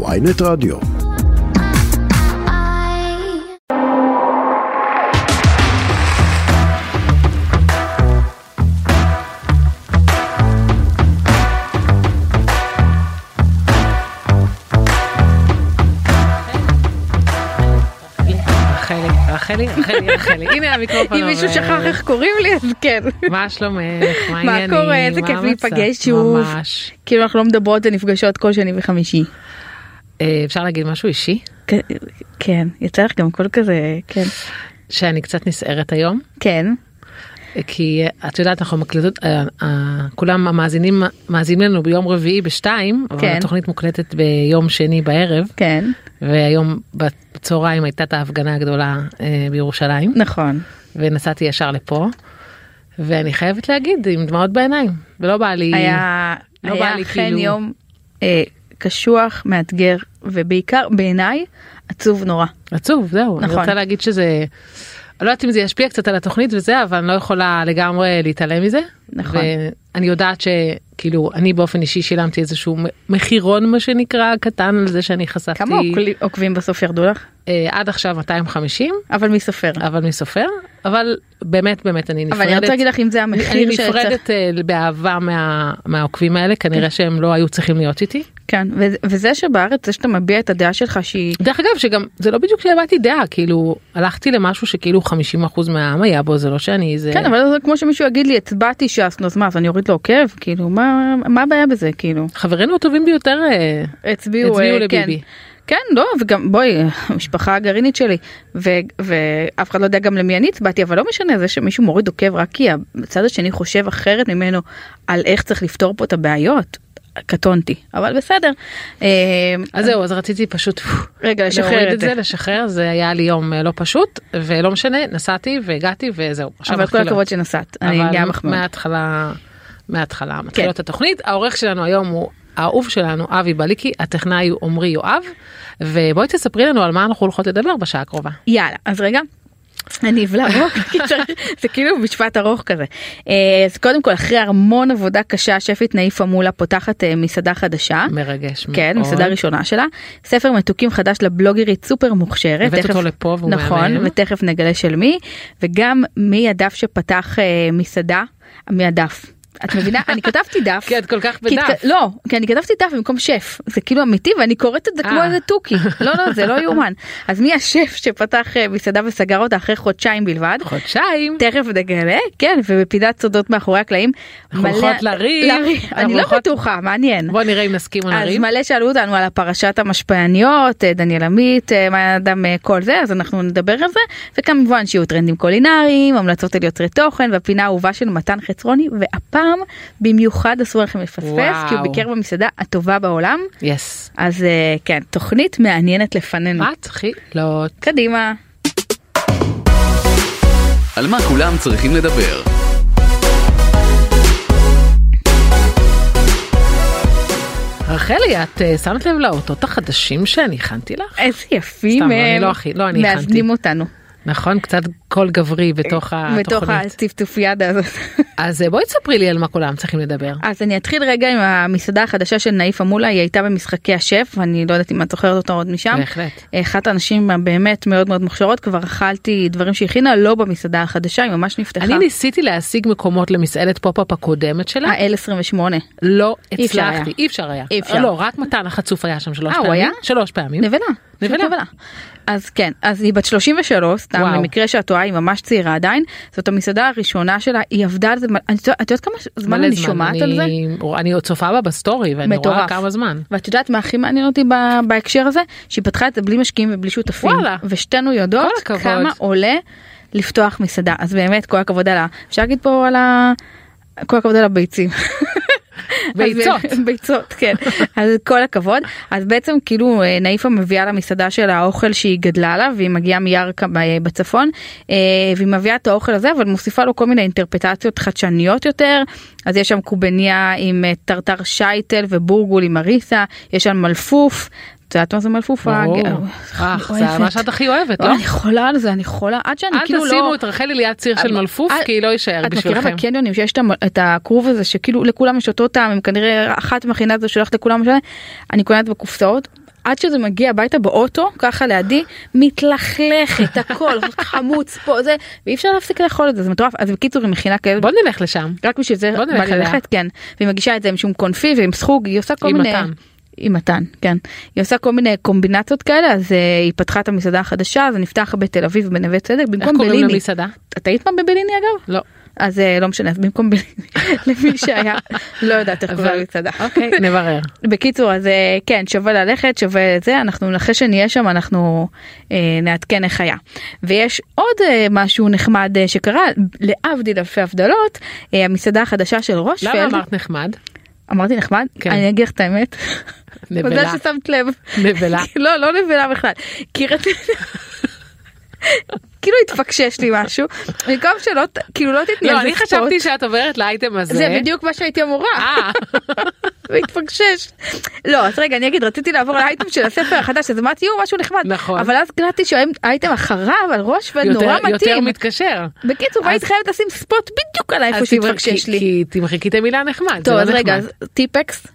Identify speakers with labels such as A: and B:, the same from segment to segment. A: ויינט רדיו.
B: רחלי, רחלי, רחלי, רחלי, הנה המיקרופון.
C: אם מישהו
B: עובד.
C: שכח איך קוראים לי אז כן.
B: מה שלומך? מה העניינים?
C: קורה? איזה
B: מה
C: כיף
B: המצב?
C: להיפגש שוב.
B: ממש.
C: כאילו אנחנו לא מדברות ונפגשות כל שני וחמישי.
B: אה, אפשר להגיד משהו אישי?
C: כ- כן, יצא לך גם קול כזה, כן.
B: שאני קצת נסערת היום,
C: כן.
B: אה, כי אה, את יודעת אנחנו מקלטות, אה, אה, כולם המאזינים מאזינים לנו ביום רביעי בשתיים, אבל
C: כן.
B: התוכנית מוקלטת ביום שני בערב,
C: כן,
B: והיום בצהריים הייתה את ההפגנה הגדולה אה, בירושלים,
C: נכון.
B: ונסעתי ישר לפה, ואני חייבת להגיד עם דמעות בעיניים, ולא בא לי...
C: היה
B: לא
C: היה
B: בא לי
C: אכן
B: כאילו-
C: יום אה, קשוח, מאתגר, ובעיקר בעיניי עצוב נורא.
B: עצוב זהו אני
C: נכון.
B: רוצה להגיד שזה אני לא יודעת אם זה ישפיע קצת על התוכנית וזה אבל אני לא יכולה לגמרי להתעלם מזה.
C: נכון.
B: ואני יודעת שכאילו אני באופן אישי שילמתי איזשהו מ- מחירון מה שנקרא קטן על זה שאני חשפתי
C: כמה עוקלי- עוקבים בסוף ירדו לך?
B: אה, עד עכשיו 250
C: אבל מי סופר.
B: אבל מי סופר אבל באמת באמת אני נפרדת.
C: אבל אני רוצה להגיד לך אם זה
B: אני-
C: המחיר
B: אני
C: שצריך.
B: נפרדת אה, באהבה מה- מהעוקבים האלה כנראה שהם לא היו צריכים להיות איתי.
C: כן, ו- וזה שבארץ זה שאתה מביע את הדעה שלך שהיא
B: דרך אגב שגם זה לא בדיוק שהבעתי דעה כאילו הלכתי למשהו שכאילו 50% מהעם היה בו זה לא שאני זה
C: כן אבל זה כמו שמישהו יגיד לי הצבעתי ש"ס נו אז מה אז אני אוריד לו עוקב כאילו מה מה הבעיה בזה כאילו
B: חברינו הטובים ביותר אה,
C: הצביעו
B: הצביעו
C: אה,
B: לביבי.
C: כן. כן לא וגם בואי המשפחה הגרעינית שלי ו- ואף אחד לא יודע גם למי אני הצבעתי אבל לא משנה זה שמישהו מוריד עוקב רק כי הצד השני חושב אחרת ממנו על איך צריך לפתור פה את הבעיות קטונתי אבל בסדר אה,
B: אז זהו, אז רציתי פשוט
C: רגע
B: להוריד
C: לשחרר
B: את זה, לשחרר, זה היה לי יום אה, לא פשוט, ולא משנה, נסעתי והגעתי וזהו. עכשיו
C: אבל כל
B: מתחילות.
C: הכבוד שנסעת אני
B: אבל
C: גם כן. מחמאות.
B: מההתחלה, מההתחלה מתחילות התוכנית. העורך שלנו היום הוא האהוב שלנו, אבי בליקי, הטכנאי הוא עמרי יואב, ובואי תספרי לנו על מה אנחנו הולכות לדבר בשעה הקרובה.
C: יאללה אז רגע. אני אבלע רוק, כי צריך- זה כאילו משפט ארוך כזה. אה, אז קודם כל אחרי המון עבודה קשה שפית נאיפה מולה פותחת אה, מסעדה חדשה.
B: מרגש מאוד.
C: כן, מסעדה ראשונה שלה. ספר מתוקים חדש לבלוגרית סופר מוכשרת.
B: הבאת
C: תכף-
B: אותו לפה והוא
C: נכון,
B: מהמם.
C: ותכף נגלה של מי. וגם מי הדף שפתח אה, מסעדה, מהדף. את מבינה? אני כתבתי דף.
B: כי את כל כך
C: כי
B: בדף.
C: התק- לא, כי אני כתבתי דף במקום שף, זה כאילו אמיתי ואני קוראת את זה
B: אה.
C: כמו איזה תוכי, לא לא זה לא יאומן. אז מי השף שפתח אה, מסעדה וסגר אותה אחרי חודשיים בלבד?
B: נכון. חודשיים.
C: תכף נגלה, כן, ובפינת סודות מאחורי הקלעים.
B: אנחנו
C: מלא-
B: הולכות לריב,
C: לריב,
B: אנחנו
C: אני לא
B: הולכות-
C: בטוחה, מעניין.
B: בוא נראה אם נסכים או
C: אז
B: נריב.
C: מלא שאלו אותנו על הפרשת המשפיעניות, אה, דניאל עמית, אה, מה אדם אה, כל זה, אז אנחנו נדבר על זה, וכמובן שיהיו טרנדים קולינריים, המלצות על יוצרי תוכן, והפינה האהובה של מתן חצרוני, והפעם במיוחד אסור לכם לפספס,
B: וואו.
C: כי הוא ביקר במסעדה הטובה בעולם,
B: יס.
C: אז אה, כן, תוכנית מעניינת לפנינו.
B: מתחילות.
C: קדימה.
D: על מה כולם צריכים לדבר.
B: רחלי, את אה, שמת לב לאותות החדשים שאני הכנתי לך?
C: איזה יפים
B: סתם, לא,
C: הם.
B: אני לא הכי- לא, אני הכנתי.
C: מאזנים אותנו.
B: נכון, קצת קול גברי בתוך
C: אה, בתוך
B: התוכנית.
C: הטפטופיאדה הזאת.
B: אז אה, בואי תספרי לי על מה כולם צריכים לדבר.
C: אז אני אתחיל רגע עם המסעדה החדשה של נאיפה מולה, היא הייתה במשחקי השף, ואני לא יודעת אם את זוכרת אותה עוד משם.
B: בהחלט.
C: אחת הנשים הבאמת מאוד מאוד מוכשרות, כבר אכלתי דברים שהכינה לא במסעדה החדשה, היא ממש נפתחה.
B: אני ניסיתי להשיג מקומות למסעדת פופ-אפ הקודמת שלה,
C: ה-L28.
B: לא
C: אה, אי אפשר היה.
B: הצלחתי, אי אפשר היה.
C: אי אפשר.
B: לא, רק מתן החצוף היה שם שלוש
C: אה, הוא
B: פעמים.
C: היה?
B: שלוש פעמים.
C: נבלה. פשוט
B: נבלה.
C: אז כן, אז היא בת 33, סתם
B: וואו.
C: למקרה שאת טועה, היא ממש צעירה עדיין. זאת המסעדה הראשונה שלה, היא עבדה על זה, מ- אני- את יודעת כמה זמן
B: מלא
C: אני
B: זמן,
C: שומעת על זה?
B: אני- אני עוד צופה בה בסטורי, ואני רואה
C: מטורף.
B: כמה זמן.
C: ואת יודעת מה הכי מעניין אותי ב- בהקשר הזה? שהיא פתחה את זה בלי משקיעים ובלי שותפים.
B: וואלה.
C: ושתינו יודעות
B: כל הכבוד.
C: כמה עולה לפתוח מסעדה. אז באמת כל הכבוד על ה... אפשר להגיד פה על ה... כל הכבוד על הביצים.
B: ביצות.
C: אז- ביצות, כן. אז כל הכבוד. אז בעצם כאילו אה, נאיפה מביאה למסעדה שלה האוכל שהיא גדלה לה והיא מגיעה מירכא ב- אה, בצפון אה, והיא מביאה את האוכל הזה אבל מוסיפה לו כל מיני אינטרפטציות חדשניות יותר. אז יש שם קובניה עם אה, טרטר שייטל ובורגול עם אריסה, יש שם מלפוף. את יודעת מה זה מלפוף?
B: ברור.
C: אה,
B: אה,
C: אני
B: זה מה
C: אוהבת.
B: שאת הכי אוהבת, לא?
C: אני חולה על זה, אני חולה, עד שאני
B: אל
C: כאילו לא...
B: תשימו את רחלי ליד ציר של
C: אבל-
B: מלפוף,
C: אל-
B: כי לא יישאר
C: אה, את מכירה
B: בשבילכם.
C: בקניונים שיש את המ- את הכרוב הזה שכאילו לכולם יש אותו טעם הם כנראה אחת מכינה את זה שולחת לכולם משנה אני קונה את זה בקופסאות עד שזה מגיע הביתה באוטו, ככה לידי, מתלכלכת, הכל, חמוץ פה, זה, ואי אפשר להפסיק לאכול את זה, זה מטורף. אז בקיצור, היא מכינה כאלה,
B: בוא נלך לשם.
C: רק בשביל זה
B: בוא נלך
C: בא לי
B: אליה.
C: ללכת, כן. והיא מגישה את זה עם שום קונפי ועם סחוג, היא עושה כל
B: עם
C: מיני...
B: מתן.
C: עם מתן, כן. היא עושה כל מיני קומבינציות כאלה, אז אה, היא פתחה את המסעדה החדשה, זה נפתח בתל אביב, בנווה צדק,
B: איך
C: במקום
B: קוראים
C: בליני.
B: למסעדה?
C: את היית פעם בבליני אגב?
B: לא.
C: אז אה, לא משנה, אז במקום בליני, למי שהיה, לא יודעת איך קוראים
B: אבל-
C: למסעדה.
B: אוקיי, נברר.
C: בקיצור אז אה, כן שווה ללכת שווה את זה אנחנו אחרי שנהיה שם אנחנו אה, נעדכן איך היה. ויש עוד אה, משהו נחמד אה, שקרה להבדיל אלפי הבדלות אה, המסעדה החדשה של רושפלד.
B: למה אמרת נחמד?
C: אמרתי נחמד?
B: כן.
C: אני אגיד לך את האמת. מזל
B: נבלה.
C: ששמת לב.
B: נבלה.
C: לא לא נבלה בכלל. כי רציתי. כאילו התפקשש לי משהו במקום שלא ת- כאילו לא תתני על
B: לא,
C: זה
B: אני
C: ספורט.
B: חשבתי שאת עוברת לאייטם הזה.
C: זה בדיוק מה שהייתי אמורה.
B: אה,
C: והתפקשש. לא, אז רגע, אני אגיד, רציתי לעבור לאייטם של הספר החדש, אז אמרתי, יואו, משהו נחמד.
B: נכון.
C: אבל אז קלטתי שהאייטם אחריו על ראש
B: יותר-
C: ונורא
B: יותר
C: מתאים.
B: מתקשר.
C: בקיצור,
B: אז-
C: והייתי חייבת לשים ספוט בדיוק על איפה
B: אז תמר-
C: שהתפקשש
B: כי-
C: לי.
B: כי תמחקי את המילה נחמד. זה
C: טוב,
B: לא
C: אז רגע,
B: נחמד.
C: אז טיפקס.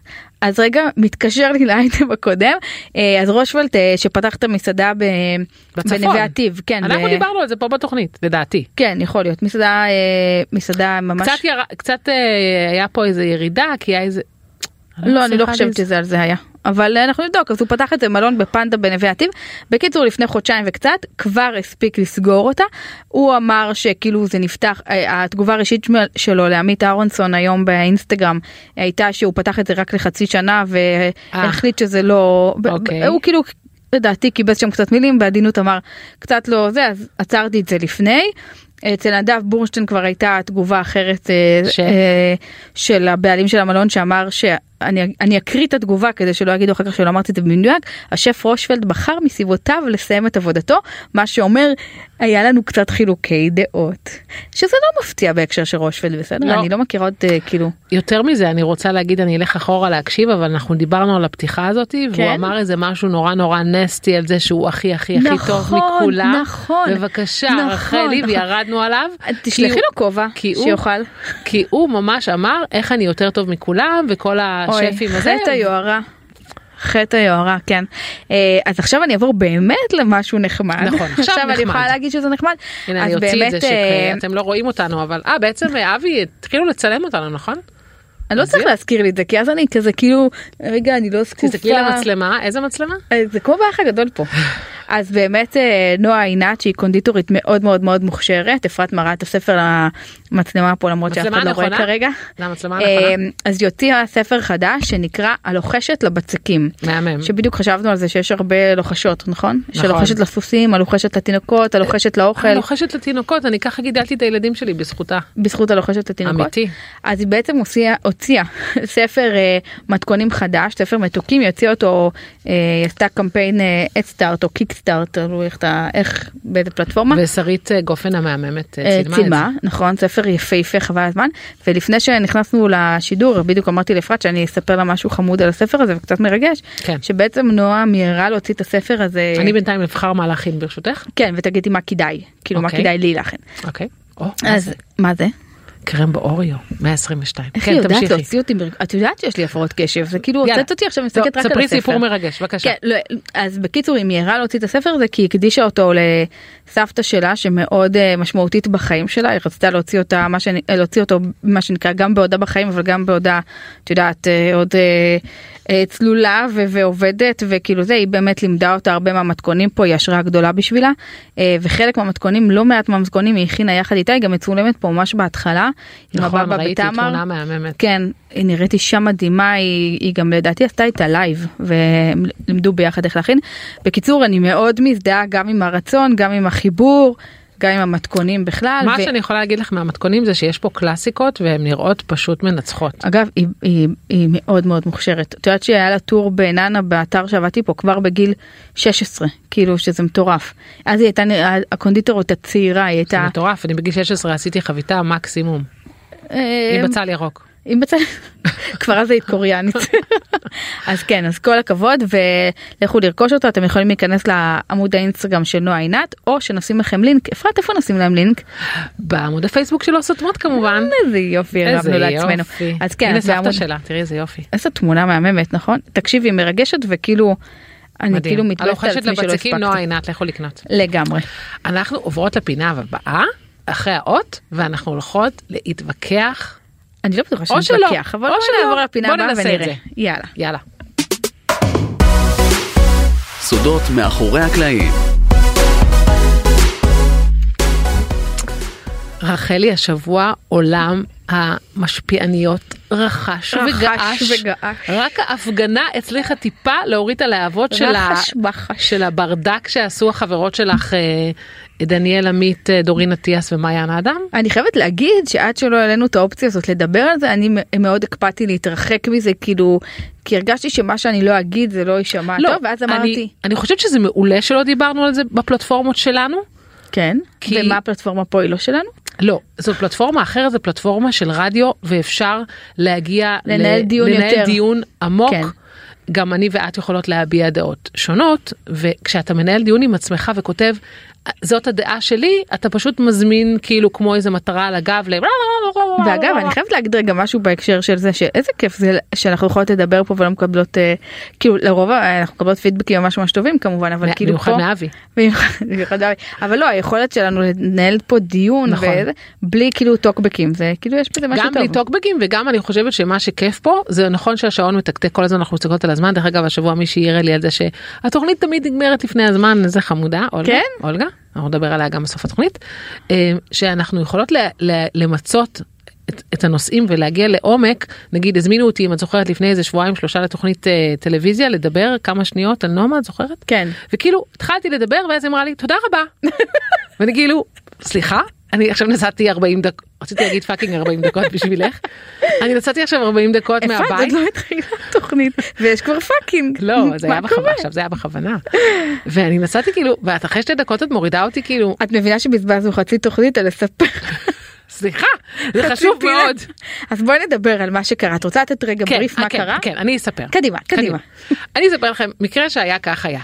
C: אז רגע, מתקשר לי לאייטם הקודם. אה, אז רושוולט, אה, שפתח את המסעדה ב-
B: בצפון.
C: בנווה אטיב, כן.
B: אנחנו
C: ב-
B: דיברנו על זה פה בתוכנית, לדעתי.
C: כן, יכול להיות. מסעדה, אה, מסעדה ממש...
B: קצת יר- קצת אה, היה פה איזה ירידה, כי היה איזה...
C: לא, אני לא
B: מצליחה
C: חושבת
B: לז-
C: שזה על זה היה. אבל אה, אנחנו נבדוק, אז הוא פתח את המלון בפנדה בנווה עתיב. בקיצור, לפני חודשיים וקצת, כבר הספיק לסגור אותה. הוא אמר שכאילו זה נפתח, אה, התגובה הראשית שמ- שלו לעמית אהרונסון היום באינסטגרם אה, הייתה שהוא פתח את זה רק לחצי שנה והחליט שזה לא... ב- ב-
B: אה. אוקיי.
C: הוא כאילו, לדעתי, קיבץ שם קצת מילים, בעדינות אמר, קצת לא זה, אז עצרתי את זה לפני. אצל נדב בורשטיין כבר הייתה תגובה אחרת אה,
B: ש?
C: אה, של הבעלים של המלון שאמר שאני אני אקריא את התגובה כדי שלא יגידו אחר כך שלא אמרתי את זה במדויק השף רושפלד בחר מסביבותיו לסיים את עבודתו מה שאומר היה לנו קצת חילוקי דעות שזה לא מפתיע בהקשר של רושפלד בסדר
B: לא.
C: אני לא מכירה עוד אה, כאילו
B: יותר מזה אני רוצה להגיד אני אלך אחורה להקשיב אבל אנחנו דיברנו על הפתיחה הזאת והוא
C: כן.
B: אמר איזה משהו נורא נורא נסטי על זה שהוא הכי הכי הכי טוב
C: נכון,
B: מכולם.
C: נכון.
B: בבקשה
C: נכון,
B: רחלי
C: נכון.
B: וירדנו עליו.
C: תשלחי
B: כי
C: לו כובע
B: כי הוא-
C: שיאכל
B: הוא- כי הוא ממש אמר איך אני יותר טוב מכולם וכל השפים הזה.
C: חטא היוהרה. חטא היוהרה, כן. אה, אז עכשיו אני אעבור באמת למשהו נחמד.
B: נכון, עכשיו
C: אני
B: נחמד.
C: יכולה להגיד שזה נחמד.
B: הנה
C: אז
B: אני אוציא את זה
C: באמת, אה,
B: שאתם לא רואים אותנו אבל אה בעצם אה, אבי התחילו לצלם אותנו נכון?
C: אני לא צריך להזכיר לי את זה, כי אז אני כזה כאילו, רגע, אני לא זקופה.
B: תסתכלי למצלמה איזה מצלמה?
C: אה, זה כמו באח הגדול פה. אז באמת אה, נועה עינת שהיא קונדיטורית מאוד מאוד מאוד מוכשרת, אפרת מראה את הספר למצלמה פה למרות שאף
B: מצלמה
C: אחד לא רואה
B: הנכונה?
C: כרגע.
B: זה המצלמה
C: אה,
B: הנכונה?
C: אז היא הוציאה ספר חדש שנקרא הלוחשת לבצקים.
B: מהמם.
C: שבדיוק חשבנו על זה שיש הרבה לוחשות נכון?
B: נכון.
C: שלוחשת לסוסים, הלוחשת לתינוקות, הלוחשת לאוכל,
B: לוחשת לתינוקות אני ככה גידלתי את הילדים שלי בזכותה.
C: בזכות הלוחשת לתינוקות.
B: אמיתי.
C: אז היא בעצם הוציאה, הוציאה ספר אה, מתכונים חדש, ספר מתוקים, היא הוציאה אותו, אה, היא עשתה קמפיין אדסטארט או קיקסטארט, תלוי איך, אתה- איך, באיזה פלטפורמה.
B: ושרית אה, גופן המהממת אה,
C: אה,
B: צילמה את זה.
C: צילמה, נכון, ספר יפהפה חבל הזמן, ולפני שנכנסנו לשידור, בדיוק אמרתי לאפרת שאני אספר לה משהו חמוד על הספר הזה וקצת מרגש,
B: כן.
C: שבעצם נועה מיהרה להוציא את הספר הזה,
B: אה, אני בינתיים אבחר מה להכין ברשותך.
C: כן, ותגידי מה כדאי, כאילו מה
B: אוקיי.
C: כדאי לי להכין.
B: אוקיי. או, מה
C: אז
B: זה?
C: מה זה?
B: קרם באוריו 122.
C: איך
B: כן,
C: היא יודעת
B: תמשיכי.
C: להוציא אותי, מר- את יודעת שיש לי הפרעות קשב, זה כאילו
B: יאללה.
C: הוצאת אותי עכשיו
B: טוב,
C: מסתכלת רק על הספר.
B: ספרי סיפור מרגש בבקשה.
C: כן, לא, אז בקיצור היא מיהרה להוציא את הספר הזה כי היא הקדישה אותו לסבתא שלה שמאוד אה, משמעותית בחיים שלה היא רצתה להוציא אותה מה שאני אה, להוציא אותו מה שנקרא גם בעודה בחיים אבל גם בעודה את יודעת אה, עוד אה, אה, צלולה ו- ועובדת וכאילו זה היא באמת לימדה אותה הרבה מהמתכונים פה היא השראה גדולה בשבילה אה, וחלק מהמתכונים לא מעט מהמתכונים היא הכינה יחד איתה היא גם מצולמת פה ממש בהתחלה. עם
B: נכון,
C: הבבא
B: ראיתי
C: בתמר.
B: תמונה מהממת.
C: כן, היא נראית אישה מדהימה, היא, היא גם לדעתי עשתה איתה לייב, והם לימדו ביחד איך להכין. בקיצור, אני מאוד מזדהה גם עם הרצון, גם עם החיבור, גם עם המתכונים בכלל.
B: מה שאני יכולה להגיד לך מהמתכונים זה שיש פה קלאסיקות והן נראות פשוט מנצחות.
C: אגב, היא, היא, היא מאוד מאוד מוכשרת. את יודעת שהיה לה טור בננה באתר שעבדתי פה כבר בגיל 16, כאילו שזה מטורף. אז היא הייתה נראה- הקונדיטורית הצעירה, היא
B: זה
C: הייתה...
B: מטורף, אני בגיל 16 עשיתי חביתה מקסימום. עם
C: אה,
B: בצל ירוק.
C: אם בצד, כבר אז היית קוריאנית. אז כן, אז כל הכבוד ולכו לרכוש אותו, אתם יכולים להיכנס לעמוד האינסטגרם של נועה עינת, או שנשים לכם לינק, אפרת איפה נשים להם לינק?
B: בעמוד הפייסבוק שלו סותמות כמובן.
C: איזה יופי
B: אמ, איזה
C: הרמנו אה, לעצמנו.
B: יופי.
C: אז כן,
B: הנה
C: אז בעמוד-
B: סבתא שלה, תראי איזה יופי.
C: איזה תמונה מהממת נכון? תקשיבי מרגשת וכאילו אני
B: מדהים.
C: כאילו מתלבטת על
B: הלוחשת
C: עצמי שלא
B: לבצקים, נועה
C: הספקתי.
B: עינת, לכו לקנות.
C: לגמרי.
B: אנחנו עוברות לפינה הבאה, אחרי האות, ואנחנו הולכות להתווכח.
C: אני לא בטוחה
B: או שלא,
C: שנתווכח, אבל
B: או
C: בוא
B: שלא.
C: נעבור לפינה
B: בוא
C: הבאה
B: ננסה את
C: ונראה.
B: זה.
C: יאללה.
B: יאללה.
D: סודות מאחורי הקלעים.
B: רחלי, השבוע עולם המשפיעניות רכש,
C: רכש
B: וגעש.
C: וגעש.
B: רק ההפגנה הצליחה טיפה להוריד את הלהבות של, ה...
C: רחש בחש.
B: של הברדק שעשו החברות שלך, אה, דניאל עמית, אה, דורין אטיאס ומעיין אדם.
C: אני חייבת להגיד שעד שלא העלינו את האופציה הזאת לדבר על זה, אני מ- מאוד הקפדתי להתרחק מזה, כאילו, כי הרגשתי שמה שאני לא אגיד זה לא יישמע טוב, ואז
B: אני,
C: אמרתי,
B: אני חושבת שזה מעולה שלא דיברנו על זה בפלטפורמות שלנו.
C: כן,
B: כי-
C: ומה הפלטפורמה פה היא לא שלנו?
B: לא, זו פלטפורמה אחרת, זו פלטפורמה של רדיו, ואפשר להגיע...
C: לנהל דיון
B: לנהל
C: יותר.
B: דיון עמוק.
C: כן.
B: גם אני ואת יכולות להביע דעות שונות, וכשאתה מנהל דיון עם עצמך וכותב, זאת הדעה שלי, אתה פשוט מזמין כאילו כמו איזה מטרה על הגב ל...
C: ואגב, אני חייבת להגדיר גם משהו בהקשר של זה, שאיזה כיף זה שאנחנו יכולות לדבר פה ולא מקבלות, אה, כאילו, לרוב אה, אנחנו מקבלות פידבקים ממש ממש טובים כמובן, אבל כאילו פה...
B: במיוחד מאבי.
C: במיוחד- במיוחד אבי. אבל לא היכולת שלנו לנהל פה דיון
B: נכון.
C: וזה, בלי כאילו טוקבקים זה כאילו יש בזה משהו
B: גם
C: טוב.
B: בלי טוקבקים וגם אני חושבת שמה שכיף פה זה נכון שהשעון מתקתק כל הזמן אנחנו מסתכלות על הזמן דרך אגב השבוע מישהי העירה לי על זה שהתוכנית תמיד נגמרת לפני הזמן איזה חמודה אולגה
C: כן?
B: אולגה אנחנו נדבר עליה גם בסוף התוכנית אה, שאנחנו יכולות ל- ל- למצות. את, את הנושאים ולהגיע לעומק נגיד הזמינו אותי אם את זוכרת לפני איזה שבועיים שלושה לתוכנית אה, טלוויזיה לדבר כמה שניות על נעמה את זוכרת
C: כן.
B: וכאילו התחלתי לדבר ואז היא אמרה לי תודה רבה. ואני כאילו סליחה אני עכשיו נסעתי 40 דקות רציתי להגיד פאקינג 40 דקות בשבילך. אני נסעתי עכשיו 40 דקות
C: אפרת
B: מהבית.
C: עוד לא התחילה התוכנית ויש כבר פאקינג.
B: לא זה
C: מה
B: היה בכוונה
C: קורה?
B: עכשיו זה היה בכוונה. ואני נסעתי כאילו ואת אחרי שתי דקות את מורידה אותי כאילו
C: את מבינה שבזבזנו חצי תוכנית על לספר.
B: סליחה זה
C: חצי
B: חשוב
C: פינה.
B: מאוד.
C: אז בואי נדבר על מה שקרה. את רוצה לתת רגע בריף
B: אה,
C: מה קרה?
B: כן, אני אספר.
C: קדימה, קדימה.
B: אני אספר לכם מקרה שהיה כך היה.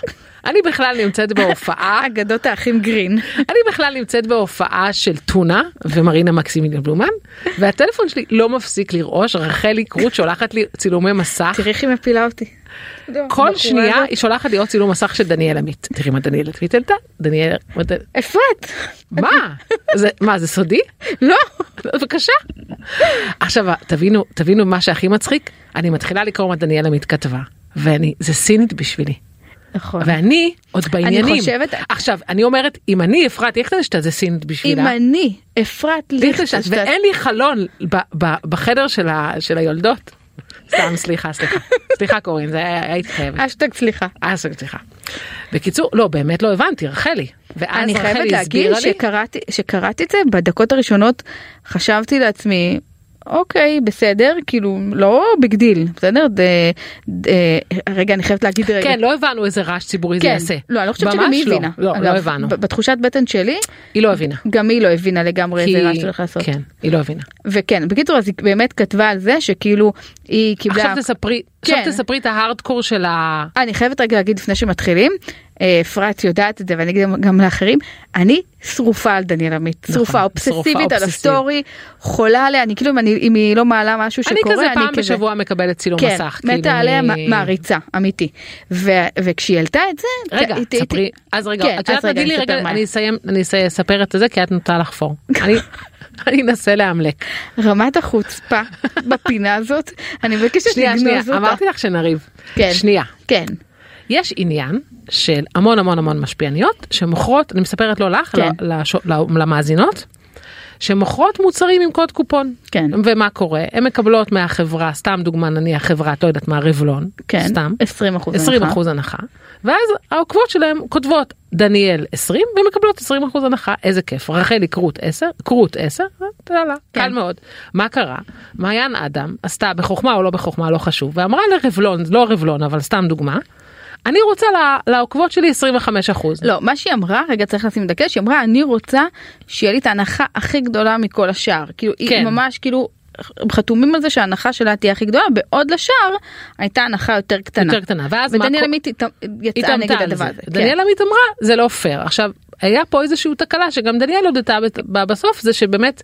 B: אני בכלל נמצאת בהופעה.
C: אגדות האחים גרין.
B: אני בכלל נמצאת בהופעה של טונה ומרינה מקסימיליאן בלומן, והטלפון שלי לא מפסיק לרעוש, רחלי קרוט שולחת לי צילומי מסך.
C: תראי איך היא מפילה אותי.
B: כל
C: הבחורה
B: שנייה
C: הזאת.
B: היא שולחת לי עוד צילום מסך של דניאל עמית. תראי מה דניאל עמית העלתה, דניאל... מה ד-
C: אפרת.
B: מה? זה- מה, זה סודי?
C: לא.
B: בבקשה. עכשיו, תבינו, תבינו מה שהכי מצחיק, אני מתחילה לקרוא מה דניאל עמית כתבה, ואני, זה סינית בשבילי.
C: נכון.
B: ואני עוד בעניינים.
C: חושבת-
B: עכשיו, אני אומרת, אם אני אפרת ליכטנשטט זה סינית בשבילה.
C: אם אני אפרת
B: ליכטנשטיין,
C: ליכטנשטיין.
B: ואין לי חלון ב- ב- בחדר של ה- של היולדות. סתם, סליחה, סליחה. סליחה קורין, זה היה היה התחייבת.
C: אשטג סליחה.
B: אה, סליחה. בקיצור, לא, באמת לא הבנתי, רחלי. ואז
C: אני חייבת
B: רחלי
C: להגיד
B: הסבירה לי,
C: שקראתי, שקראתי את זה בדקות הראשונות חשבתי לעצמי אוקיי בסדר כאילו לא ביג דיל בסדר ד, ד, רגע אני חייבת להגיד רגע.
B: כן, לא הבנו איזה רעש ציבורי זה
C: כן,
B: יעשה.
C: לא, אני לא חושבת שגם
B: ממש
C: היא
B: לא.
C: הבינה.
B: לא, לא
C: אגב,
B: הבנו.
C: ב- בתחושת בטן שלי,
B: היא לא הבינה.
C: גם היא לא הבינה לגמרי
B: כי-
C: איזה רעש הולך לעשות.
B: כן, היא לא הבינה.
C: וכן, בקיצור, אז היא באמת כתבה על זה שכאילו, היא קיבלה...
B: עכשיו תספרי, עכשיו
C: כן.
B: תספרי את ההארדקור של ה...
C: אני חייבת רגע להגיד לפני שמתחילים, אה, אפרת יודעת את זה ואני אגיד גם- גם לאחרים, אני שרופה על דניאל עמית,
B: נכון,
C: שרופה
B: שרופה
C: אובססיבית על
B: אובססיבית.
C: הסטורי, חולה עליה, אני כאילו אם אני- אם היא לא מעלה משהו
B: אני
C: שקורה,
B: כזה פעם בשבוע מקבלת צילום
C: כן,
B: מסך. כאילו,
C: מתה עליה
B: אני-
C: מ- מעריצה, אמיתי. ו- וכשהיא העלתה את זה,
B: רגע,
C: היא- היא-
B: ספרי,
C: היא-
B: אז רגע,
C: כן,
B: את יודעת
C: אז
B: מה,
C: רגע,
B: תני לי
C: אני אספר
B: רגע,
C: מה
B: אני
C: היה.
B: אסיים, אני אס- אספר את זה כי את נוטה לחפור. אני- אני אנסה לאמלק.
C: רמת החוצפה בפינה הזאת, אני מבקשת
B: שנייה, שנייה,
C: לגנוז אותה.
B: אמרתי לך שנריב.
C: כן.
B: שנייה.
C: כן,
B: יש עניין של המון המון המון משפיעניות שמוכרות, אני מספרת לא לך,
C: כן.
B: לא- לש- ל- למאזינות, שמוכרות מוצרים עם קוד קופון.
C: כן.
B: ומה קורה? הן מקבלות מהחברה, סתם דוגמה נניח חברה, את לא יודעת מה, רבלון.
C: כן,
B: סתם.
C: 20 אחוז.
B: 20 אחוז הנחה ואז העוקבות שלהם כותבות דניאל 20 ומקבלות 20 אחוז הנחה איזה כיף רחלי קרוט 10 קרוט 10 תודה לה
C: כן.
B: קל מאוד מה קרה מעיין אדם עשתה בחוכמה או לא בחוכמה לא חשוב ואמרה לרבלון לא רבלון אבל סתם דוגמה אני רוצה לה- לעוקבות שלי 25 אחוז
C: לא, מה שהיא אמרה, רגע צריך לשים דגש, היא אמרה אני רוצה שיהיה לי את ההנחה הכי גדולה מכל השאר. כאילו היא
B: כן.
C: ממש כאילו הם חתומים על זה שההנחה שלה תהיה הכי גדולה, בעוד לשאר הייתה הנחה יותר קטנה.
B: יותר קטנה ואז מה
C: ודניאל
B: קורה?
C: עמית הת-
B: היא
C: יצאה
B: טענתה
C: נגד
B: על
C: הדבר
B: זה.
C: הזה. כן.
B: דניאל עמית אמרה זה לא פייר עכשיו היה פה איזושהי תקלה שגם דניאל הודתה בת- בה בסוף זה שבאמת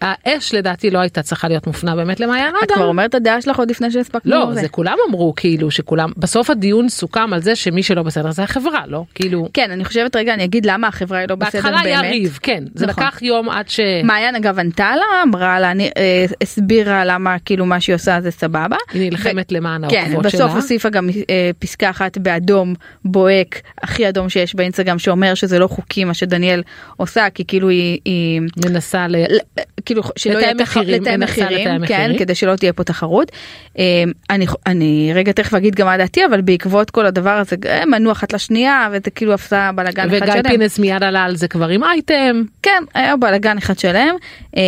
B: האש לדעתי לא הייתה צריכה להיות מופנה באמת למעיין
C: את
B: אדם.
C: כבר אומרת את הדעה שלך עוד לפני שהספקנו.
B: לא, זה כולם אמרו כאילו שכולם, בסוף הדיון סוכם על זה שמי שלא בסדר זה החברה, לא? כאילו,
C: כן, אני חושבת רגע, אני אגיד למה החברה היא לא בסדר באמת.
B: בהתחלה היה ריב, כן, זה
C: נכון.
B: לקח יום עד ש...
C: מעיין אגב ענתה לה, אמרה לה, אני, אה, הסבירה למה כאילו מה שהיא עושה זה סבבה.
B: היא נלחמת למען
C: כן,
B: העוקבות שלה.
C: בסוף הוסיפה גם אה, פסקה אחת באדום בוהק, הכי אדום שיש באינסטגרם, שאומר שזה לא חוקי מה שדניאל עושה, כי כאילו היא, היא
B: מנסה ל...
C: ל- כאילו שלא יהיה
B: לתאם
C: תח-
B: מחירים,
C: לתאם
B: מנסה לתאם
C: מחירים, כן,
B: מחירים.
C: כדי שלא תהיה פה תחרות. אה, אני ח- אני רגע תכף אגיד גם מה דעתי, אבל בעקבות כל הדבר הזה, אה, מנעו אחת לשנייה, וזה כאילו עשה בלאגן אחד
B: וגיא
C: שלם.
B: פינס מיד עלה על זה כבר עם אייטם.
C: כן, היה בלאגן אחד שלם. אה,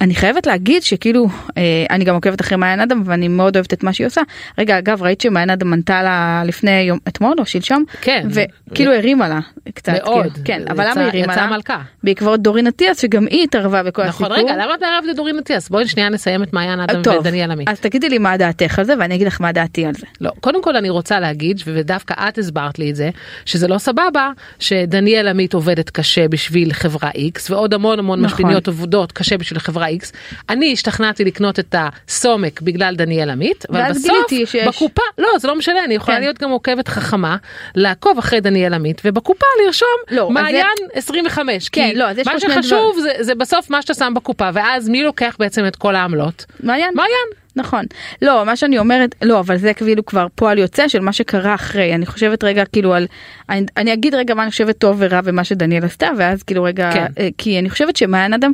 C: אני חייבת להגיד שכאילו, אה, אני גם עוקבת אחרי מעיין אדם ואני מאוד אוהבת את מה שהיא עושה. רגע, אגב, ראית שמעיין אדם ענתה לה לפני יום, אתמול או שלשום?
B: כן.
C: וכאילו הרימה לה קצת.
B: מאוד.
C: כאילו, כן, אבל
B: יצא-
C: למה הרימה לה?
B: יצאה מלכה.
C: בעקבות דורין אטיאס, שגם היא התערבה בכל הסיפור. אה,
B: נכון, רגע, למה את מערבת את דורין אטיאס? בואי שנייה נסיים את מעיין אדם
C: טוב,
B: ודניאל עמית.
C: אז תגידי לי מה דעתך על זה ואני אגיד לך מה דעתי על זה.
B: לא, קודם כל אני רוצה להגיד, ודווקא את הסברת לי את זה, שזה לא סבבה שדניאל עמית עובדת קשה בשביל חברה X, ועוד המון המון
C: נכון.
B: נכון. משפיניות עובדות קשה בשביל חברה X. אני השתכנעתי לקנות את הסומק בגלל דניאל עמית, אבל
C: ואז
B: בסוף,
C: גיליתי שיש-
B: בקופה, לא, זה לא משנה, אני יכולה
C: כן.
B: כן. להיות גם עוקבת חכמה, לעקוב אחרי דניאל עמית, ובקופה לרשום
C: לא, אז
B: מעיין 25.
C: כן,
B: כי
C: לא, אז יש פה
B: מה
C: שני
B: שחשוב זה, זה בסוף מה שאתה שם בקופה, ואז מי לוקח בעצם את כל העמלות?
C: מעיין.
B: מעיין.
C: נכון. לא, מה שאני אומרת, לא, אבל זה כאילו כבר פועל יוצא של מה שקרה אחרי. אני חושבת רגע כאילו על, אני, אני אגיד רגע מה אני חושבת טוב ורע ומה שדניאל עשתה, ואז כאילו רגע,
B: כן.
C: אה, כי אני חושבת שמעיין אדם,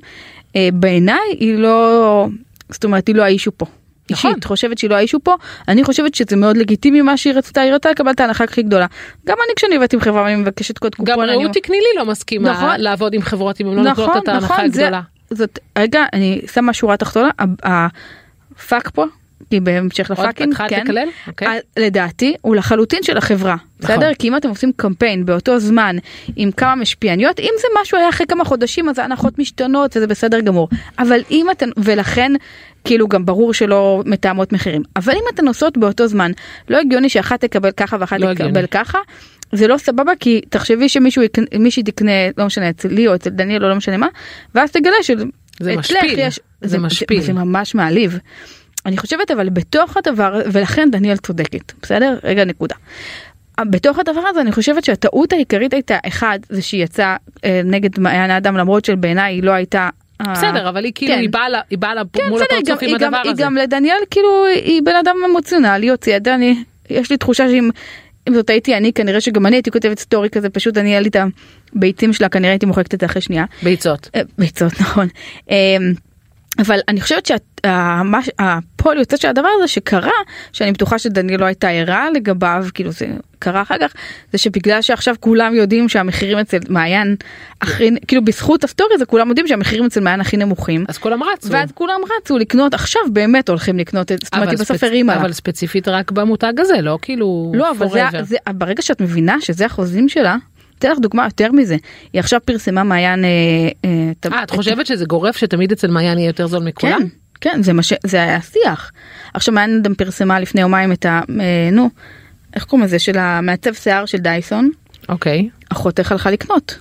C: אה, בעיניי היא לא, זאת אומרת, היא לא האישו פה.
B: נכון.
C: אישית חושבת שהיא לא האישו פה, אני חושבת שזה מאוד לגיטימי מה שהיא רצתה, היא רצתה לקבל את ההנחה הכי גדולה. גם אני כשאני עובדת עם חברה אני מבקשת קוד קופון.
B: גם
C: אני
B: רעות תקנילי לא מסכימה
C: נכון.
B: לעבוד עם חברות אם הן לא נותנות את ההנחה
C: זה-
B: הגדולה.
C: זאת, רגע, אני שמה שורה תחתונה, ה- הפאק פה, כי בהמשך
B: עוד
C: לפאקינג,
B: התחלת
C: כן,
B: לקלל? אוקיי. נכון.
C: ה- לדעתי הוא לחלוטין של החברה, בסדר? כי אם אתם עושים קמפיין באותו זמן עם כמה משפיעניות, אם זה משהו היה אחרי כמה חודשים אז ההנחות משתנות וזה בסדר גמור, אבל אם אתן, ולכן כאילו גם ברור שלא מתאמות מחירים, אבל אם אתן עושות באותו זמן, לא הגיוני שאחת תקבל ככה ואחת
B: לא
C: תקבל
B: הגיוני.
C: ככה. זה לא סבבה כי תחשבי שמישהו יקנ- מישהי תקנה לא משנה אצלי או אצל דניאל או לא משנה מה ואז תגלה שאצלך
B: זה משפיל,
C: יש
B: זה משפיל.
C: זה ממש מעליב. אני חושבת אבל בתוך הדבר ולכן דניאל צודקת בסדר רגע נקודה. בתוך הדבר הזה אני חושבת שהטעות העיקרית הייתה אחד זה שהיא יצאה אה, נגד מעיין האדם למרות שבעיניי היא לא הייתה. אה,
B: בסדר, אבל היא כאילו,
C: כן.
B: היא באה לה- היא באה לה
C: כן,
B: מול
C: בסדר, היא
B: הפרצוף
C: גם-
B: עם
C: היא גם-
B: הדבר
C: היא
B: הזה.
C: גם לדניאל כאילו היא בן אדם אמוציונלי הוציאה דני יש לי תחושה שאם אם זאת הייתי אני כנראה שגם אני הייתי כותבת סטורי כזה פשוט אני היה לי את הביצים שלה כנראה הייתי מוחקת את זה אחרי שנייה.
B: ביצות.
C: אה, ביצות נכון. אה, אבל אני חושבת שהפועל יוצא של הדבר הזה שקרה שאני בטוחה שדניאל לא הייתה ערה לגביו כאילו זה קרה אחר כך זה שבגלל שעכשיו כולם יודעים שהמחירים אצל מעיין הכי כאילו בזכות הסטורי הזה כולם יודעים שהמחירים אצל מעיין הכי נמוכים
B: אז כולם רצו.
C: ואז כולם רצו לקנות עכשיו באמת הולכים לקנות את זאת אומרת
B: אבל
C: היא בסוף
B: ספצ-
C: הרימה לה.
B: אבל ספציפית רק במותג הזה, לא כאילו
C: לא אבל זה,
B: forever.
C: זה ברגע שאת מבינה שזה החוזים שלה. אתן לך דוגמה יותר מזה היא עכשיו פרסמה מעיין אה, אה, את-
B: אה, את
C: את-
B: חושבת שזה גורף שתמיד אצל מעיין יהיה יותר זול מכולם?
C: כן, כן, זה מה ש... זה היה השיח. עכשיו מעיין גם פרסמה לפני יומיים את ה... אה, נו, איך קוראים לזה? של המעצב שיער של דייסון.
B: אוקיי.
C: אחותך הלכה לקנות.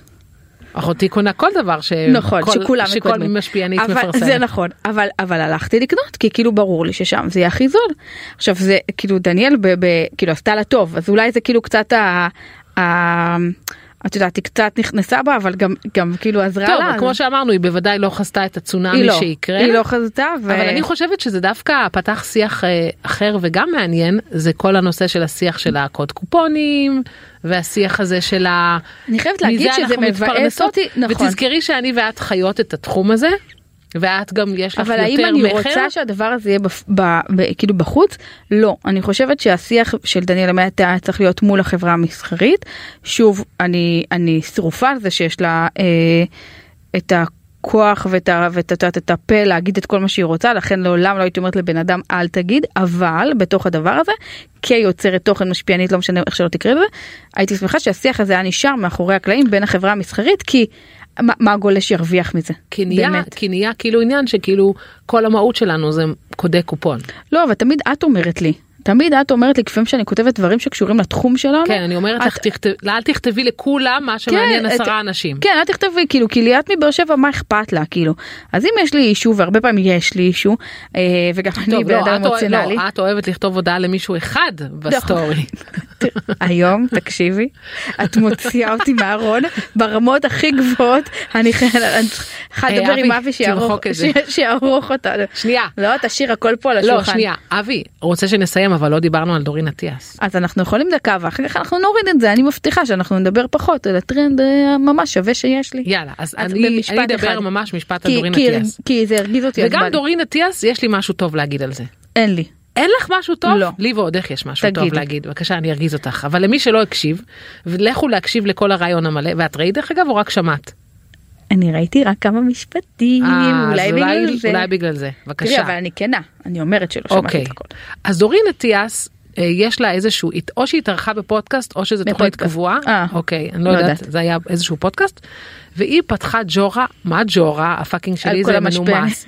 B: אחותי קונה כל דבר ש...
C: נכון,
B: אמ, כל-
C: שכולם
B: שכל
C: מקודמים.
B: משפיענית
C: אבל- זה
B: מפרסמת.
C: נכון, אבל, אבל הלכתי לקנות, כי כאילו ברור לי ששם זה יהיה הכי זול. עכשיו זה, כאילו דניאל, ב, ב, כאילו עשתה לה טוב, אז אולי זה כאילו קצת ה... ה את יודעת, היא קצת נכנסה בה, אבל גם, גם כאילו עזרה
B: טוב,
C: לה.
B: אבל כמו שאמרנו, היא בוודאי לא חסתה את
C: היא
B: הצונאמי
C: לא,
B: שיקרה.
C: היא לא חזתה, ו...
B: אבל אני חושבת שזה דווקא פתח שיח אה, אחר וגם מעניין, זה כל הנושא של השיח של הקוד קופונים, והשיח הזה של ה...
C: אני חייבת
B: מזה
C: להגיד שזה
B: אנחנו
C: מבאס
B: מתפרנסות.
C: אותי, נכון.
B: ותזכרי שאני ואת חיות את התחום הזה, ואת גם יש לך
C: אבל
B: יותר
C: האם אני
B: מכר.
C: רוצה שהדבר הזה יהיה בפ- ב- ב- כאילו בחוץ? לא. אני חושבת שהשיח של דניאל עמית היה צריך להיות מול החברה המסחרית. שוב, אני, אני שרופה על זה שיש לה אה, את הכוח ואת, ה- ואת, את יודעת, את הפה להגיד את כל מה שהיא רוצה, לכן לעולם לא הייתי אומרת לבן אדם אל תגיד, אבל בתוך הדבר הזה, כיוצרת תוכן משפיענית, לא משנה איך שלא תקראי לזה, הייתי שמחה שהשיח הזה היה נשאר מאחורי הקלעים בין החברה המסחרית, כי מה, מה הגולש ירוויח מזה?
B: כי נהיה,
C: באמת.
B: כי נהיה כאילו עניין שכאילו כל המהות שלנו זה קודי קופון.
C: לא, אבל תמיד את אומרת לי. תמיד את אומרת לי לפעמים שאני כותבת דברים שקשורים לתחום שלנו.
B: כן, אני אומרת
C: את-
B: לך, תכת- אל תכתבי לכולם מה
C: כן,
B: שמעניין
C: את-
B: עשרה אנשים.
C: כן, את תכתבי, כאילו, כי ליאת מבאר שבע, מה אכפת לה, כאילו. אז אם יש לי אישו, והרבה פעמים יש לי אישו, אה, וגם אני
B: טוב, לא,
C: בן אדם
B: את אוה-
C: אמוציונלי.
B: לא, את אוהבת לכתוב הודעה למישהו אחד
C: נכון.
B: בסטורי.
C: היום, תקשיבי, את מוציאה אותי מהארון ברמות הכי גבוהות, אני חייבת- אני צריכה
B: אה,
C: לדבר
B: אבי,
C: עם אבי שיערוך-
B: תמחוק את זה.
C: ש- שיערוך אותנו.
B: שנייה.
C: לא, תשאיר הכל פה על השולחן.
B: לא, שנייה, אבי, רוצה שנסיים, אבל לא דיברנו על דורין אטיאס.
C: אז אנחנו יכולים דקה ואחר כך אנחנו נוריד את זה, אני מבטיחה שאנחנו נדבר פחות על הטרנד אה, ממש שווה שיש לי.
B: יאללה, אז
C: אז
B: אני
C: במשפט
B: אני אדבר
C: אחד.
B: ממש משפט על
C: כי,
B: דורין
C: כי,
B: אטיאס.
C: כי זה הרגיז אותי, אז בא
B: וגם
C: לי.
B: דורין אטיאס, יש לי משהו טוב להגיד על זה.
C: אין לי.
B: אין לך משהו טוב?
C: לא.
B: לי ועוד איך יש משהו טוב
C: תגידי.
B: להגיד. בבקשה, אני ארגיז אותך. אבל למי שלא הקשיב, לכו להקשיב לכל הרעיון המלא, ואת ראית דרך אגב או רק שמעת?
C: אני ראיתי רק כמה משפטים,
B: אה, אז
C: אולי בגלל זה.
B: אולי בגלל זה.
C: תראי,
B: בבקשה.
C: אבל אני כנה, אני אומרת שלא שמעתי
B: אוקיי.
C: את הכל.
B: אז דורין אטיאס, אה, יש לה איזשהו, הת- או שהיא התארחה בפודקאסט, או שזו תוכנית
C: בפודקאסט.
B: קבועה.
C: אה,
B: אוקיי, אני
C: לא
B: לא יודעת,
C: יודעת.
B: זה היה איזשהו פודקאסט. והיא פתחה ג'ורה, מה ג'ורה? הפאקינג
C: על
B: שלי
C: כל
B: זה
C: המשפן.
B: מנומס.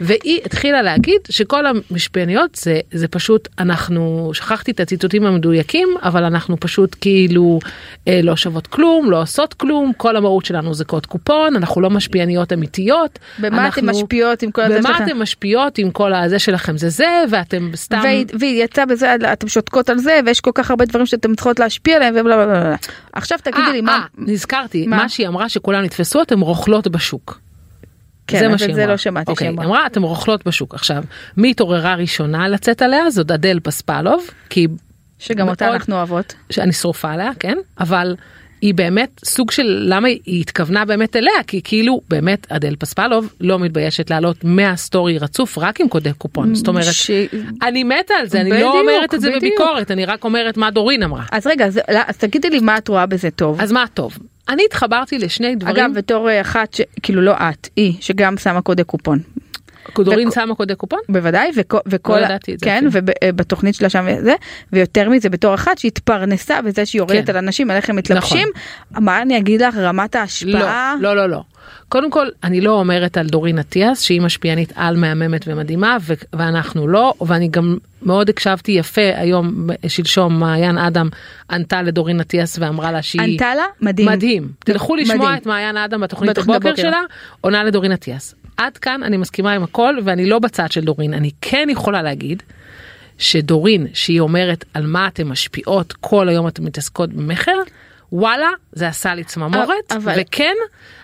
B: והיא התחילה להגיד שכל המשפיעניות זה, זה פשוט, אנחנו, שכחתי את הציטוטים המדויקים, אבל אנחנו פשוט כאילו אה, לא שוות כלום, לא עושות כלום, כל המהות שלנו זה קוד קופון, אנחנו לא משפיעניות אמיתיות.
C: במה
B: אנחנו-
C: אתן משפיעות עם כל הזה
B: במה
C: שלכם?
B: אתן משפיעות עם כל הזה שלכם זה זה ואתם סתם
C: והיא- והיא יצאה בזה, אתם שותקות על זה, ויש כל כך הרבה דברים שאתם צריכות להשפיע עליהם ובלה בלה בלה. בלה. עכשיו תגידי
B: אה,
C: לי
B: אה,
C: מה...
B: נזכרתי
C: מה?
B: מה שהיא אמרה שכולם נתפסו אתם רוכלות בשוק.
C: כן,
B: זה
C: אבל
B: מה
C: את
B: שהיא
C: זה
B: אמרה.
C: לא שמעתי
B: אוקיי,
C: שהיא
B: היא
C: אמרה.
B: אמרה אתם רוכלות בשוק עכשיו מי התעוררה ראשונה לצאת עליה זאת אדל פספלוב כי
C: שגם אותה
B: מאוד-
C: אנחנו אוהבות.
B: שאני שרופה עליה כן אבל. היא באמת סוג של למה היא התכוונה באמת אליה כי כאילו באמת אדל פספלוב לא מתביישת לעלות 100 סטורי רצוף רק עם קודי קופון זאת אומרת
C: ש-
B: אני מתה על זה אני
C: בדיוק,
B: לא אומרת את זה
C: בדיוק.
B: בביקורת אני רק אומרת מה דורין אמרה.
C: אז רגע, אז- לא, אז תגידי לי מה את רואה בזה טוב.
B: אז מה טוב. אני התחברתי לשני דברים,
C: אגב, בתור אה, אחת, ש- כאילו לא את, היא, שגם שמה קודי קופון.
B: דורין
C: וכ-
B: שמה קודי קופון?
C: בוודאי, וכו- וכל...
B: לא ידעתי את זה
C: כן,
B: אפילו.
C: ובתוכנית שלה שם זה, ויותר מזה, בתור אחת שהתפרנסה בזה שהיא יורדת
B: כן. נכון.
C: על אנשים, על איך הם מתלבשים, מה אני אגיד לך, רמת ההשפעה?
B: לא, לא, לא, לא. קודם כל, אני לא אומרת על דורין אטיאס שהיא משפיענית על מהממת ומדהימה, ו- ואנחנו לא, ואני גם מאוד הקשבתי יפה היום, שלשום, מעיין אדם ענתה לדורין אטיאס ואמרה לה שהיא...
C: ענתה לה? מדהים.
B: מדהים. תלכו לשמוע
C: מדהים.
B: את מעיין אדם בתוכנית
C: בתוכנית
B: הבוקר
C: הבוקר.
B: שלה, עונה לדורין אטיאס. עד כאן אני מסכימה עם הכל, ואני לא בצד של דורין. אני כן יכולה להגיד שדורין, שהיא אומרת על מה אתן משפיעות, כל היום אתן מתעסקות במכר, וואלה, זה עשה לי צמרמורת,
C: אבל-
B: וכן,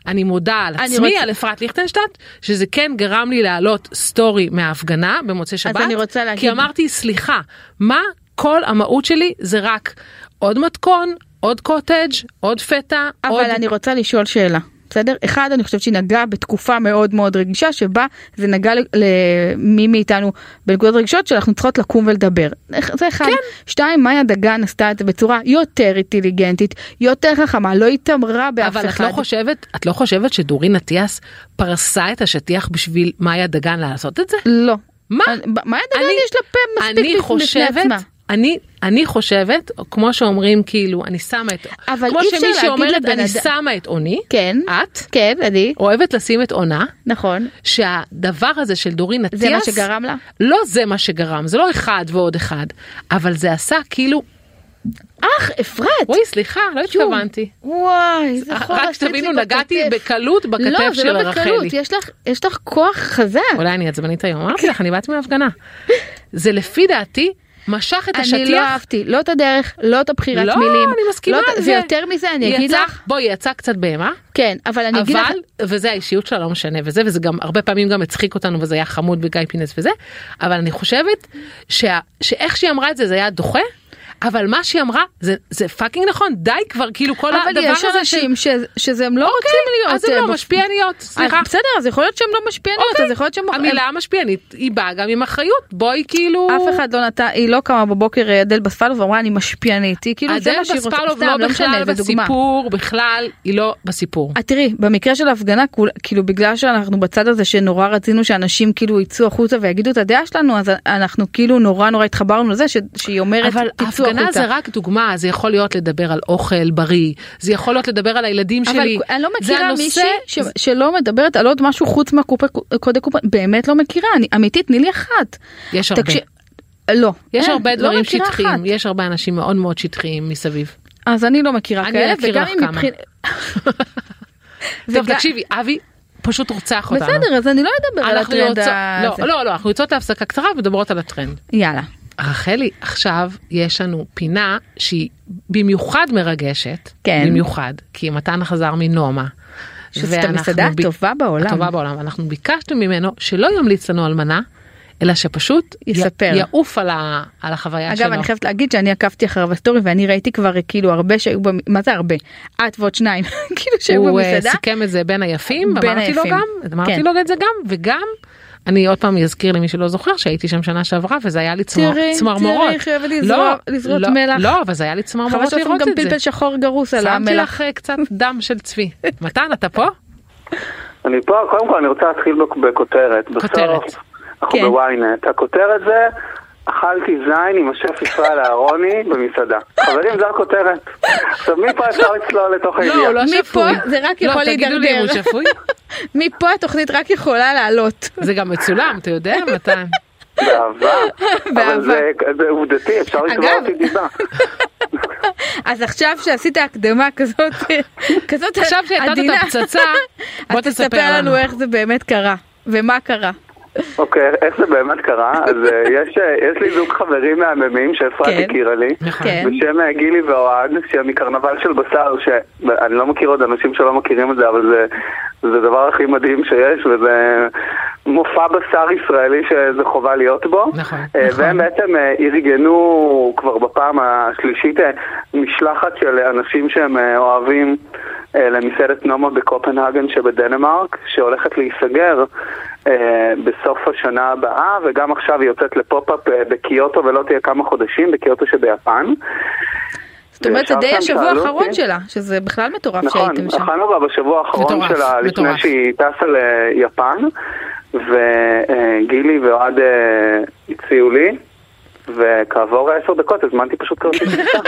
B: אני מודה על
C: אני
B: עצמי,
C: רוצה-
B: על אפרת ליכטנשטט, שזה כן גרם לי להעלות סטורי מההפגנה במוצאי שבת,
C: אני רוצה להגיד-
B: כי אמרתי, סליחה, מה כל המהות שלי זה רק עוד מתכון, עוד קוטג', עוד פטה, עוד...
C: אבל אני רוצה לשאול שאלה. בסדר? אחד, אני חושבת שהיא נגעה בתקופה מאוד מאוד רגישה, שבה זה נגע ל- למי מאיתנו בנקודות רגישות שאנחנו צריכות לקום ולדבר. איך- זה אחד. כן. שתיים, מאיה דגן עשתה את זה בצורה יותר אינטליגנטית, יותר חכמה, לא התעמרה באף
B: אבל את
C: אחד.
B: לא חושבת, את לא חושבת שדורין אטיאס פרסה את השטיח בשביל מאיה דגן לעשות את זה?
C: לא.
B: מה?
C: אני- ב- מאיה דגן יש לה פה מספיק
B: אני
C: בפני
B: חושבת,
C: עצמה.
B: אני, אני חושבת, כמו שאומרים, כאילו, אני שמה את...
C: אבל
B: כמו
C: אי אפשר
B: שמישהי
C: להגיד
B: אומרת,
C: לבן
B: אני
C: אדם-
B: שמה את עוני,
C: כן.
B: את,
C: כן, אני.
B: אוהבת לשים את עונה,
C: נכון.
B: שהדבר הזה של דורין אטיאס...
C: זה מה שגרם לה?
B: לא זה מה שגרם, זה לא אחד ועוד אחד, אבל זה עשה כאילו,
C: אך, אפרת.
B: אוי, סליחה, לא התכוונתי.
C: וואי, איזה חור
B: אה, רק
C: עשית לי
B: שתבינו,
C: בכתף.
B: נגעתי בקלות בכתף
C: לא, זה
B: של
C: לא
B: רחלי.
C: בקלות, יש לך- יש לך כוח חזק.
B: אולי אני עצבנית היום,
C: כן.
B: אמרתי לך, אני באתי מההפגנה. זה לפי דעתי, משך את השטיח.
C: אני לא אהבתי, לא את הדרך, לא את הבחירת
B: לא,
C: מילים.
B: אני מסכימה
C: לא,
B: על זה.
C: זה יותר מזה, אני
B: היא
C: אגיד
B: יצאה-
C: לך,
B: בואי, היא יצאה קצת בהמה,
C: כן, אבל אני אגיד לך,
B: אבל, וזה האישיות שלה לא משנה, וזה, וזה גם, הרבה פעמים גם הצחיק אותנו, וזה היה חמוד בגיא פינס וזה, אבל אני חושבת שה- שאיך שהיא אמרה את זה, זה היה דוחה, אבל מה שהיא אמרה, זה- זה פאקינג נכון, די כבר, כאילו כל
C: אבל
B: הדבר
C: יש
B: הזה של...
C: אנשים ש- שזה הם לא
B: אוקיי,
C: רוצים להיות,
B: אז זה
C: אה,
B: לא
C: בפ-
B: משפיעניות, סליחה. אוקיי.
C: אה, בסדר, אז יכול להיות שהם לא משפיעניות, אז יכול להיות שהם...
B: המילה המשפיענית היא באה גם עם אחריות, בואי כאילו...
C: אף אחד לא נתן, היא לא קמה בבוקר אה, אדל בספלוב ואמרה אני משפיענית, היא כאילו זה
B: אדל
C: מה שהיא רוצה,
B: פספלוב
C: סתם,
B: לא
C: לא משנה,
B: בכלל
C: זה דוגמה.
B: בסיפור, בכלל, היא לא בסיפור.
C: את אה, תראי, במקרה של ההפגנה, כול- כאילו בגלל שאנחנו בצד הזה שנורא רצינו שאנשים כאילו יצאו החוצה ויגידו את הדעה שלנו, אז אנחנו כאילו נורא נורא התחברנו לזה ש- שהיא אומרת,
B: אבל
C: תצאו החוצה.
B: הפגנה זה רק דוגמה, זה יכול להיות לדבר על אוכל בריא, זה יכול להיות לדבר על הילדים שלי.
C: אבל אני לא
B: זה
C: מכירה
B: הנושא-
C: מישהי ש... שלא מדברת על עוד משהו חוץ מהקופי קודי קופון, באמת לא מכירה, אני אמיתית, תני לי אחת.
B: יש הרבה.
C: תקשיב- לא.
B: יש
C: אין,
B: הרבה
C: לא
B: דברים
C: מכירה אחת.
B: שטחיים, יש הרבה אנשים מאוד מאוד שטחיים מסביב.
C: אז אני לא מכירה
B: אני
C: כאלה,
B: אכיר לך
C: אם
B: כמה.
C: מבחינת...
B: טוב,
C: וגם-
B: תקשיבי, אבי פשוט רוצח אותנו.
C: בסדר, אז אני לא אדבר על
B: אנחנו
C: הטרנד
B: יוצא-
C: הזה.
B: לא, לא, לא, אנחנו יוצאות להפסקה קצרה ומדברות על הטרנד.
C: יאללה.
B: רחלי, עכשיו יש לנו פינה שהיא במיוחד מרגשת,
C: כן.
B: במיוחד, כי מתן חזר מנומה.
C: שזאת
B: ואנחנו
C: המסעדה
B: ב-
C: הטובה בעולם.
B: הטובה בעולם. אנחנו ביקשנו ממנו שלא ימליץ לנו על מנה, אלא שפשוט
C: יספר.
B: י- יעוף על, ה... על החוויה שלו.
C: אגב, אני חייבת להגיד שאני עקבתי אחריו בסטורי ואני ראיתי כבר אה, כאילו הרבה שהיו, במ- מה זה הרבה? את ועוד שניים, כאילו שהיו
B: הוא אה,
C: במסעדה.
B: סיכם את זה בין היפים,
C: בין
B: אמרתי לו
C: היפים.
B: גם, אמרתי
C: כן.
B: לו את זה גם, וגם, אני עוד פעם אזכיר למי שלא זוכר שהייתי שם שנה שעברה וזה היה לי צמר-
C: תראי,
B: צמרמורות.
C: תראי, חייבת
B: לא,
C: לזרוע- לזרות
B: לא,
C: מלח.
B: לא, אבל זה היה לי
C: חבל
B: צמרמורות
C: שעושים
B: לראות
C: גם
B: את זה.
C: פלפל שחור גרוס על
B: שמתי
C: המלח.
B: לך אה, קצת דם של צבי. מתן, אתה פה?
A: אני פה, קודם כל אני רוצה להתחיל בכ- בכותרת.
B: כותרת.
A: בסוף, אנחנו
C: כן.
A: בוויינט. הכותרת זה, אכלתי זין עם השף ישראל אהרוני במסעדה. חברים, זו הכותרת. עכשיו, מפה אפשר לצלול לתוך
B: לא, הוא
A: הידיעה.
B: לא
C: מפה
B: שפוי.
C: זה רק
B: לא,
C: יכול
B: תגידו לי אם הוא
C: להידרדר.
B: שפוי?
C: מפה התוכנית רק יכולה לעלות.
B: זה גם מצולם, אתה יודע, מתן?
A: באהבה.
C: באהבה.
A: אבל זה- זה עובדתי, אפשר לתבוע
C: אגב.
A: אותי דיבה.
C: אז עכשיו שעשית הקדמה כזאת, כזאת
B: עכשיו שהטעת את
C: עדינה,
B: הפצצה, בוא
C: אז
B: תספר לנו.
C: איך זה באמת קרה, ומה קרה.
A: אוקיי, איך זה באמת קרה? אז אה, יש אה, יש לי זוג חברים מהממים שאפרת
C: כן.
A: הכירה לי.
B: נכון.
C: כן.
A: בשם אה, גילי ואוהד, שהם מקרנבל של בשר, שאני לא מכיר עוד אנשים שלא מכירים את זה, אבל זה, זה הדבר הכי מדהים שיש, וזה מופע בשר ישראלי שזה חובה להיות בו.
B: נכון,
A: אה,
B: נכון.
A: והם בעצם אה, ארגנו כבר בפעם השלישית אה, משלחת של אנשים שהם אה, אוהבים אה, למסעדת נומה בקופנהגן שבדנמרק, שהולכת להיסגר. אה, בסוף השנה הבאה, וגם עכשיו היא יוצאת לפופ-אפ אה, בקיוטו ולא תהיה כמה חודשים, בקיוטו שביפן.
C: זאת אומרת, זה
A: וישר
C: די
A: שם
C: השבוע
A: שאלו
C: האחרון
A: אותי-
C: שלה, שזה בכלל מטורף
A: נכון,
C: שהייתם שם.
A: אכלנו בה בשבוע האחרון
B: מטורף,
A: שלה,
B: מטורף.
A: לפני שהיא טסה ליפן, וגילי ואוהד אה, הציעו לי, וכעבור עשר דקות הזמנתי פשוט כרטיס טיסה.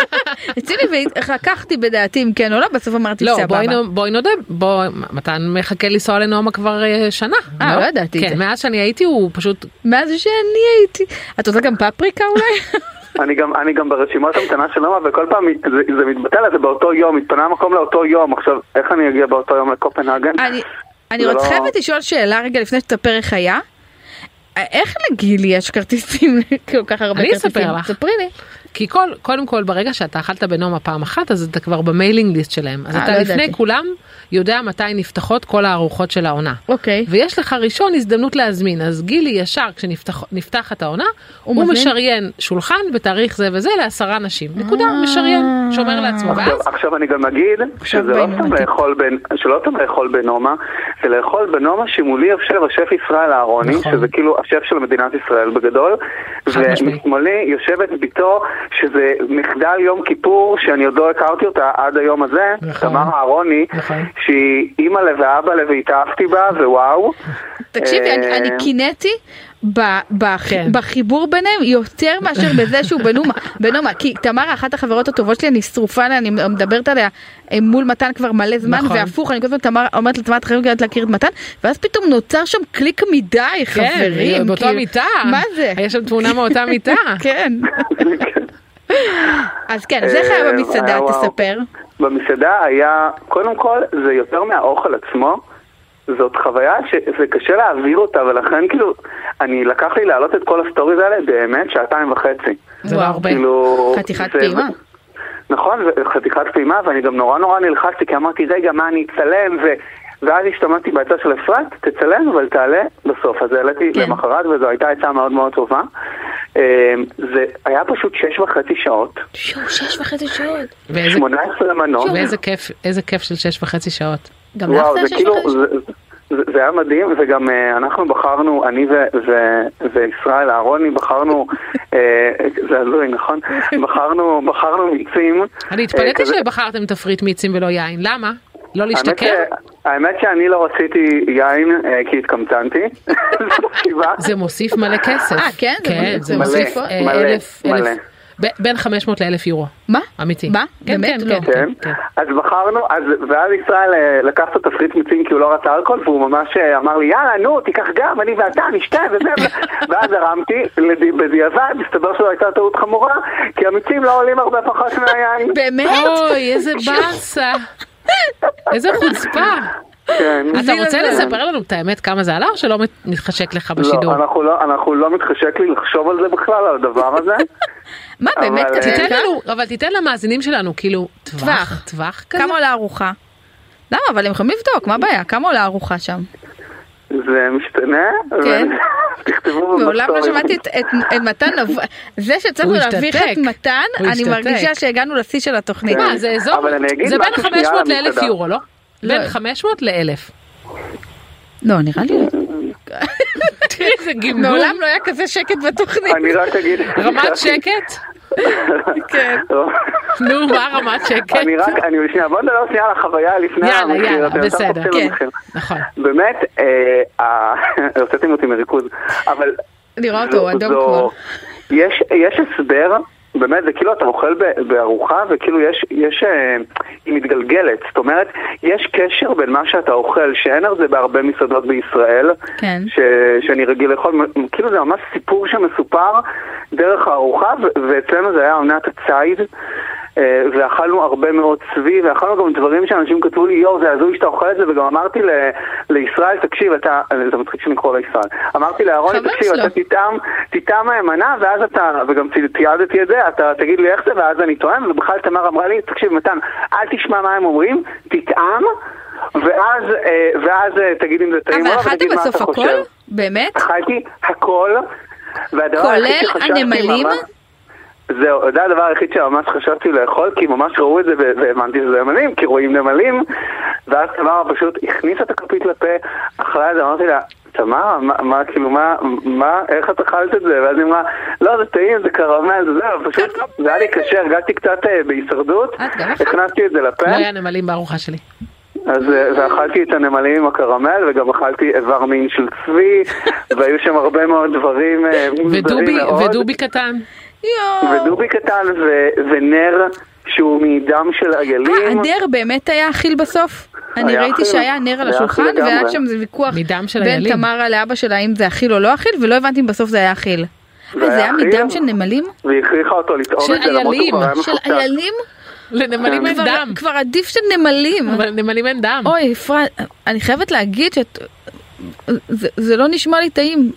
C: אצלי ולקחתי בדעתי אם כן או לא, בסוף אמרתי
B: לא,
C: סבבה.
B: בואי נו- בואי נודה, בוא, מתן מחכה לנסוע לנעמה כבר אה, שנה.
C: אה, לא ידעתי את
B: כן,
C: זה.
B: מאז שאני הייתי הוא פשוט,
C: מאז שאני הייתי, את רוצה גם פפריקה אולי?
A: אני גם- אני גם ברשימות המתנה של נומה, וכל פעם זה- זה מתבטל, אז זה באותו יום, התפנה המקום לאותו יום. עכשיו, איך אני אגיע באותו יום לקופנהגן?
C: אני- אני
A: זה
C: עוד
A: לא-
C: חייבת לשאול שאלה רגע לפני שתספר איך היה. איך לגילי יש כרטיסים, כל כך הרבה
B: אני
C: כרטיסים?
B: אספר לך.
C: ספרי לי.
B: כי כל, קודם כל ברגע שאתה אכלת בנעמה פעם אחת, אז אתה כבר במיילינג ליסט שלהם. אז
C: אה,
B: אתה
C: לא
B: לפני
C: ידעתי.
B: כולם יודע מתי נפתחות כל הארוחות של העונה.
C: אוקיי.
B: ויש לך ראשון הזדמנות להזמין, אז גילי ישר כשנפתחת העונה, הוא,
C: הוא
B: הוא
C: מזמין?
B: משריין שולחן בתאריך זה וזה לעשרה נשים. נקודה,
C: אה.
B: משריין, שומר לעצמו.
C: נכון.
A: עכשיו,
B: ואז
A: עכשיו אני גם אגיד שזה לא
C: באים
A: סתם
C: למתק.
A: לאכול בין- שלא סתם לאכול בנומה, זה לאכול בנומה שמולי יושב השף ישראל אהרוני,
B: נכון.
A: שזה כאילו השף של מדינת ישראל בגדול,
B: חד משמעי.
A: ומשמאלי יושבת בתו, שזה מחדל יום כיפור, שאני עוד לא הכרתי אותה עד היום הזה,
B: נכון.
A: תמר אהרוני,
B: נכון.
A: שהיא אימא'לה ואבא'לה והתאהבתי בה, ווואו.
C: תקשיבי, אני-
A: אה,
C: אני קינאתי ב- בח-
B: כן.
C: בחיבור ביניהם יותר מאשר בזה שהוא בנומה, בנומה, כי תמרה אחת החברות הטובות שלי, אני שרופה עליה, אני מדברת עליה אה, מול מתן כבר מלא זמן,
B: נכון.
C: והפוך, אני כל הזמן תמר אומרת לתמר, את חייבת להכיר את מתן, ואז פתאום נוצר שם קליק מדי, חברים,
B: באותו
C: כאילו,
B: כן, אה, מיטה. אה.
C: מה זה?
B: יש שם תמונה מאותה מיטה.
C: כן, אז כן, אז איך היה
A: אה,
C: במסעדה,
A: היה וואו.
C: תספר.
A: במסעדה היה, קודם כל, זה יותר מהאוכל עצמו. זאת חוויה שזה קשה להעביר אותה, ולכן כאילו, אני לקח לי להעלות את כל הסטוריז האלה באמת שעתיים וחצי.
B: זה לא
C: וואו.
B: הרבה.
A: כאילו...
C: חתיכת
A: זה-
C: פעימה.
A: נכון, זה חתיכת פעימה, ואני גם נורא נורא נלחצתי, כי אמרתי, רגע, מה אני אצלם? ו... ואז השתמשתי בעצה של אפרת, תצלם, אבל תעלה בסוף. אז העליתי
C: כן.
A: למחרת, וזו הייתה עצה מאוד מאוד טובה. אה, זה היה פשוט שש וחצי שעות,
C: שואו, שש וחצי שעות.
B: ואיזה-
A: 18 מנות.
B: ואיזה כיף, איזה כיף של שש וחצי שעות.
C: גם לך
A: וואו,
C: זה היה
A: זה
C: שש
A: כאילו,
C: וחצי
A: זה, זה, זה היה מדהים, וגם אה, אנחנו בחרנו, אני ו, ו, וישראל אהרוני בחרנו, אה, זה הזוי, נכון? בחרנו, בחרנו מיצים.
B: אני
A: אה,
B: התפלאתי
A: כזה-
B: שבחרתם תפריט מיצים ולא יין, למה? לא להשתכר?
A: האמת, ש, האמת שאני לא רציתי יין אה, כי התקמצנתי. זו הסיבה.
B: זה מוסיף מלא כסף.
C: אה, כן? זה
B: כן,
C: מוסיף-
B: זה
A: מלא,
B: מוסיף אה,
A: מלא,
B: אלף,
A: מלא.
B: אלף. ב- בין 500 ל-1,000 יורו.
C: מה?
B: אמיתי.
C: מה?
B: כן,
C: באמת?
B: כן,
C: לא.
B: כן,
A: כן,
B: כן.
A: אז בחרנו, אז, ואז ישראל אה, לקח את התפריט מיצים כי הוא לא רצה אלכוהול, והוא ממש אה, אמר לי, יאללה, נו, תיקח גם, אני ואתה, נשתה וזה, ו- ואז הרמתי, לד- בדיעבד, הסתבר שזו הייתה טעות חמורה, כי המיצים לא עולים הרבה פחות מהיין.
C: באמת?
B: אוי, איזה באסה. איזה חוצפה.
A: כן.
B: אתה
C: הזיל
B: רוצה
C: הזה.
B: לספר לנו את האמת כמה זה עלה או שלא מת- מתחשק לך
A: לא,
B: בשידור?
A: אנחנו לא, אנחנו לא מתחשק לי לחשוב על זה בכלל, על הדבר הזה.
C: מה באמת
A: אבל,
C: כזה?
A: אה,
B: תיתן
C: יקר?
B: לנו, אבל תיתן למאזינים שלנו כאילו
C: טווח.
B: טווח, טווח כזה.
C: כמה עולה ארוחה? למה? אבל הם יכולים לבדוק, מה הבעיה? כמה עולה ארוחה שם?
A: זה משתנה,
C: כן.
A: ו- תכתבו במסורת.
C: מעולם לא שמעתי את, את, את מתן נבוא, זה שהצלחנו
B: הוא
C: להביך
B: השתתק.
C: את מתן,
B: הוא
C: אני
B: השתתק.
C: מרגישה שהגענו לשיא של התוכנית.
A: כן.
B: מה, זה אזור,
A: אבל אני אגיד
B: זה בין
A: משהו שנייה
B: 500
A: על
B: ל-1,000
A: המסעדה.
B: יורו, לא?
C: לא.
B: בין 500 ל-1,000.
C: לא, נראה לי, לא.
B: תראי איזה גמגום,
C: מעולם לא היה כזה שקט בתוכנית.
A: אני רק אגיד...
B: רמת שקט?
C: כן.
B: נו, מה רמת שקט?
A: אני רק, אני שנייה, בוא נדבר שנייה על החוויה לפני
B: יאללה,
A: המחיר.
B: יאללה,
A: אתם ישר
B: בסדר,
A: קופצים
C: כן.
A: למחיר.
B: נכון.
A: באמת, אה, ה- הוצאתם אותי מריכוז, אבל...
C: אני רואה
A: זו-
C: אותו, הוא אדום
A: זו-
C: כמו...
A: יש, יש הסבר, באמת, זה כאילו אתה אוכל ב- בארוחה, וכאילו יש, יש, אה, היא מתגלגלת. זאת אומרת, יש קשר בין מה שאתה אוכל, שאין על זה בהרבה מסעדות בישראל,
C: כן.
A: ש, שאני רגיל לאכול, מ- כאילו זה ממש סיפור שמסופר דרך הארוחה, ו- ואצלנו זה היה עונת הציד. אה, ואכלנו הרבה מאוד צבי, ואכלנו גם דברים שאנשים כתבו לי, יואו, זה הזוי שאתה אוכל את זה, וגם אמרתי ל- לישראל, תקשיב, אתה, זה מצחיק שאני קורא לישראל, אמרתי לאהרוני,
C: חבר
A: תקשיב,
C: שלו.
A: אתה תטעם, תטעם מהימנה, ואז אתה, וגם צי- תיעדתי את זה, אתה תגיד לי איך זה, ואז אני טועם, ובכלל תמר אמרה לי, תקשיב, מתן, אל תשמע מה הם אומרים, תטעם, ואז, אה, ואז אה, תגיד אם זה טעים או
C: אבל
A: לא,
C: אכלתי
A: ותגיד מה
C: בסוף
A: אתה חושב.
C: הכל? באמת?
A: אכלתי הכל, והדבר היחיד
C: כולל
A: שחשבתי
C: הנמלים?
A: ממש- זהו, זה הדבר היחיד שממש חשבתי לאכול, כי ממש ראו את זה ו- והבנתי שזה נמלים, כי רואים נמלים, ואז תמרה פשוט הכניסה את הכפית לפה, אכלה את זה, אמרתי לה, תמרה, מה, מה, כאילו, מה, מה, איך את אכלת את זה? ואז היא אמרה, לא, זה טעים, זה קרמל, זה זה, פשוט, זה היה לי קשה, הרגשתי קצת אה, בהישרדות,
C: את גם אכלת?
A: הכנסתי את זה לפה,
B: לא היה נמלים בארוחה שלי.
A: אז אה, ואכלתי את הנמלים עם הקרמל, וגם אכלתי איבר מין של צבי, והיו שם הרבה מאוד דברים אה, מוזרים
B: ודובי,
A: מאוד.
B: ודובי קטן.
C: יואו.
A: ודובי קטן ו- ונר שהוא מדם של
C: אה,
A: איילים.
C: הנר באמת היה אכיל בסוף? אני
A: היה
C: ראיתי
A: אכיל.
C: שהיה נר על
A: היה
C: השולחן,
A: אכיל לגמרי.
C: והיה שם איזה ויכוח
B: מדם של
C: בין
B: איילים.
C: תמרה לאבא שלה אם זה אכיל או לא אכיל, ולא הבנתי אם בסוף זה היה אכיל. אה,
A: זה
C: זה
A: היה
C: היה
A: אכיל.
C: מדם של נמלים?
A: והיא הכריחה אותו
B: של
A: לטעום את זה למרות
B: איילים,
A: שהוא כבר היה
B: של
A: מפוצץ.
C: של איילים?
B: לנמלים אין
C: כבר-
B: דם.
C: כבר עדיף של נמלים.
B: אבל לנמלים אין דם.
C: אוי, אפרת, אני חייבת להגיד שאת... זה- זה לא נשמע לי טעים.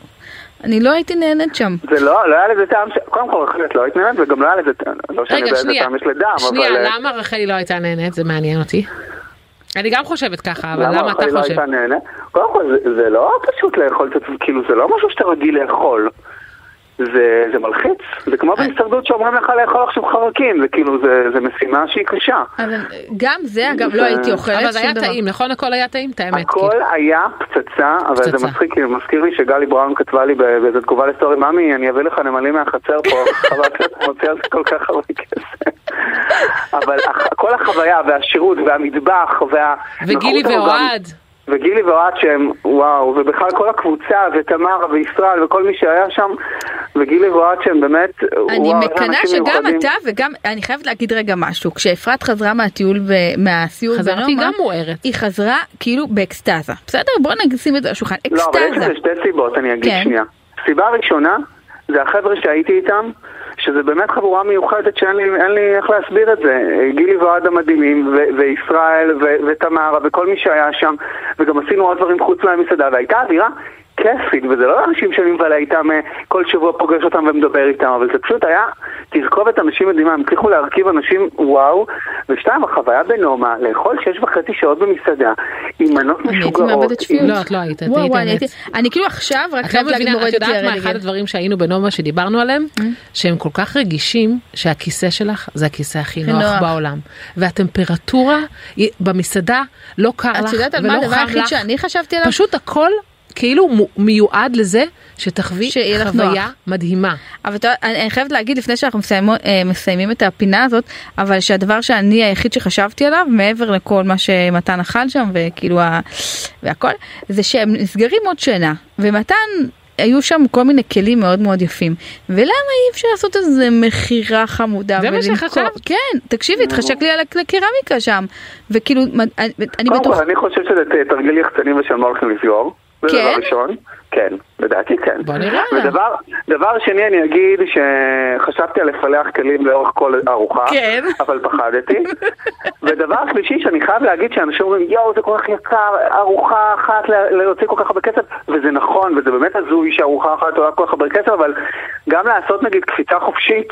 C: אני לא הייתי נהנית שם.
A: זה לא, לא היה לזה טעם, ש- קודם כל החלט לא התנהלת וגם לא היה לזה טעם, לא שאני
B: רגע,
A: יודע איזה
B: שנייה.
A: טעם יש לדם,
B: שנייה,
A: אבל... אה,
B: למה רחלי לא הייתה נהנית? זה מעניין אותי. אני גם חושבת ככה, אבל למה אתה
A: רחלי לא
B: חושב?
A: הייתה נהנה? קודם כל, זה- זה לא פשוט לאכול את עצמך, כאילו זה לא משהו שאתה רגיל לאכול. זה, זה מלחיץ, זה
B: אה.
A: כמו בהישרדות שאומרים לך לאכול עכשיו חרקים, זה כאילו, זה, זה משימה שהיא קשה.
C: אבל גם זה, אגב, לא הייתי אוכלת שום דבר.
B: אבל זה היה טעים, נכון? הכל היה טעים? את האמת.
A: הכל
B: כאילו.
A: היה פצצה, אבל
B: פצצה.
A: זה מצחיק, כי זה מזכיר לי שגלי בראון כתבה לי בא- באיזו תגובה לסטורי, ממי, אני אביא לך נמלים מהחצר פה, חבל שאתה מוציא על זה כל כך הרבה כסף. אבל הח- כל החוויה והשירות והמטבח וה...
B: וגילי
A: אנחנו גם-
B: ואוהד.
A: וגילי ואוהד שהם, וואו, ובכלל כל הקבוצה, ותמר וישראל וכל מי שהיה שם, וגילי ואוהד שהם באמת,
C: אני
A: וואו, איזה
C: מקנאה
A: אנשים
C: שגם
A: מיוחדים.
C: אתה וגם, אני חייבת להגיד רגע משהו, כשאפרת חזרה מהטיול, ב- מהסיור
B: חזרתי
C: בנומה,
B: גם מוארת.
C: היא חזרה כאילו באקסטזה. בסדר? בוא נשים את זה על השולחן.
A: לא, אבל יש
C: אקסטזה.
A: לזה שתי סיבות, אני אגיד
C: כן.
A: שנייה. סיבה ראשונה, זה החבר'ה שהייתי איתם, שזה באמת חבורה מיוחדת שאין לי, אין לי איך להסביר את זה. גילי ואוהד המדהימים, ו- וישראל, ו- ותמרה, וכל מי שהיה שם, וגם עשינו עוד דברים חוץ מהמסעדה, והייתה אווירה כיפית, וזה לא אנשים שאני מבלה איתם, אה, כל שבוע פוגש אותם ומדבר איתם, אבל זה פשוט היה תרכובת אנשים מדהימה, הם הצליחו להרכיב אנשים וואו, ושתיים, החוויה בנומה, לאכול שש וחצי שעות במסעדה, עם מנות
C: אני הייתי
A: משוגעות.
C: מאבדת שפיות.
B: לא, את לא היית, את
C: וואו,
B: היית
C: וואו, אני
B: באמת.
C: הייתי- אני כאילו עכשיו רק
B: את לא
C: חייבת להגיד
B: מבינה, את
C: מורדת אה?
B: יודעת
C: ירי
B: מה אחד הדברים שהיינו בנומה שדיברנו עליהם, שהם כל כך רגישים, שהכיסא שלך זה הכיסא הכי
C: הכי נוח.
B: נוח בעולם. והטמפרטורה היא- במסעדה לא קר לך ולא חם לך.
C: את יודעת על מה הדבר היחיד שאני חשבתי עליו?
B: פשוט הכל כאילו מ- מיועד לזה שתחווי
C: שיהיה לך
B: חוויה
C: נוח.
B: מדהימה.
C: אבל אתה, אני, אני חייבת להגיד לפני שאנחנו מסיימו, אה, מסיימים את הפינה הזאת, אבל שהדבר שאני היחיד שחשבתי עליו, מעבר לכל מה שמתן אכל שם וכאילו ה... והכל, זה שהם נסגרים עוד שינה, ומתן היו שם כל מיני כלים מאוד מאוד יפים. ולמה אי אפשר לעשות איזה מכירה חמודה
B: זה מה
C: ולמכור?
B: שחשבת?
C: כן, תקשיבי, התחשק לי על הק- הקרמיקה שם. וכאילו, מה- אני- אני
A: קודם
C: בטוח...
A: כל, אני חושב שזה ת- תרגיל יחצנים ושהם לא הולכים לסגור. זה
C: כן?
A: דבר ראשון. כן, לדעתי כן.
B: בוא נראה.
A: ודבר דבר שני, אני אגיד שחשבתי על לפלח כלים לאורך כל ארוחה,
C: כן.
A: אבל פחדתי. ודבר שלישי, שאני חייב להגיד שאנשים אומרים, יואו, זה כל כך יקר, ארוחה אחת לה- להוציא כל כך הרבה כסף, וזה נכון, וזה באמת הזוי שארוחה אחת עולה כל כך הרבה כסף, אבל גם לעשות נגיד קפיצה חופשית,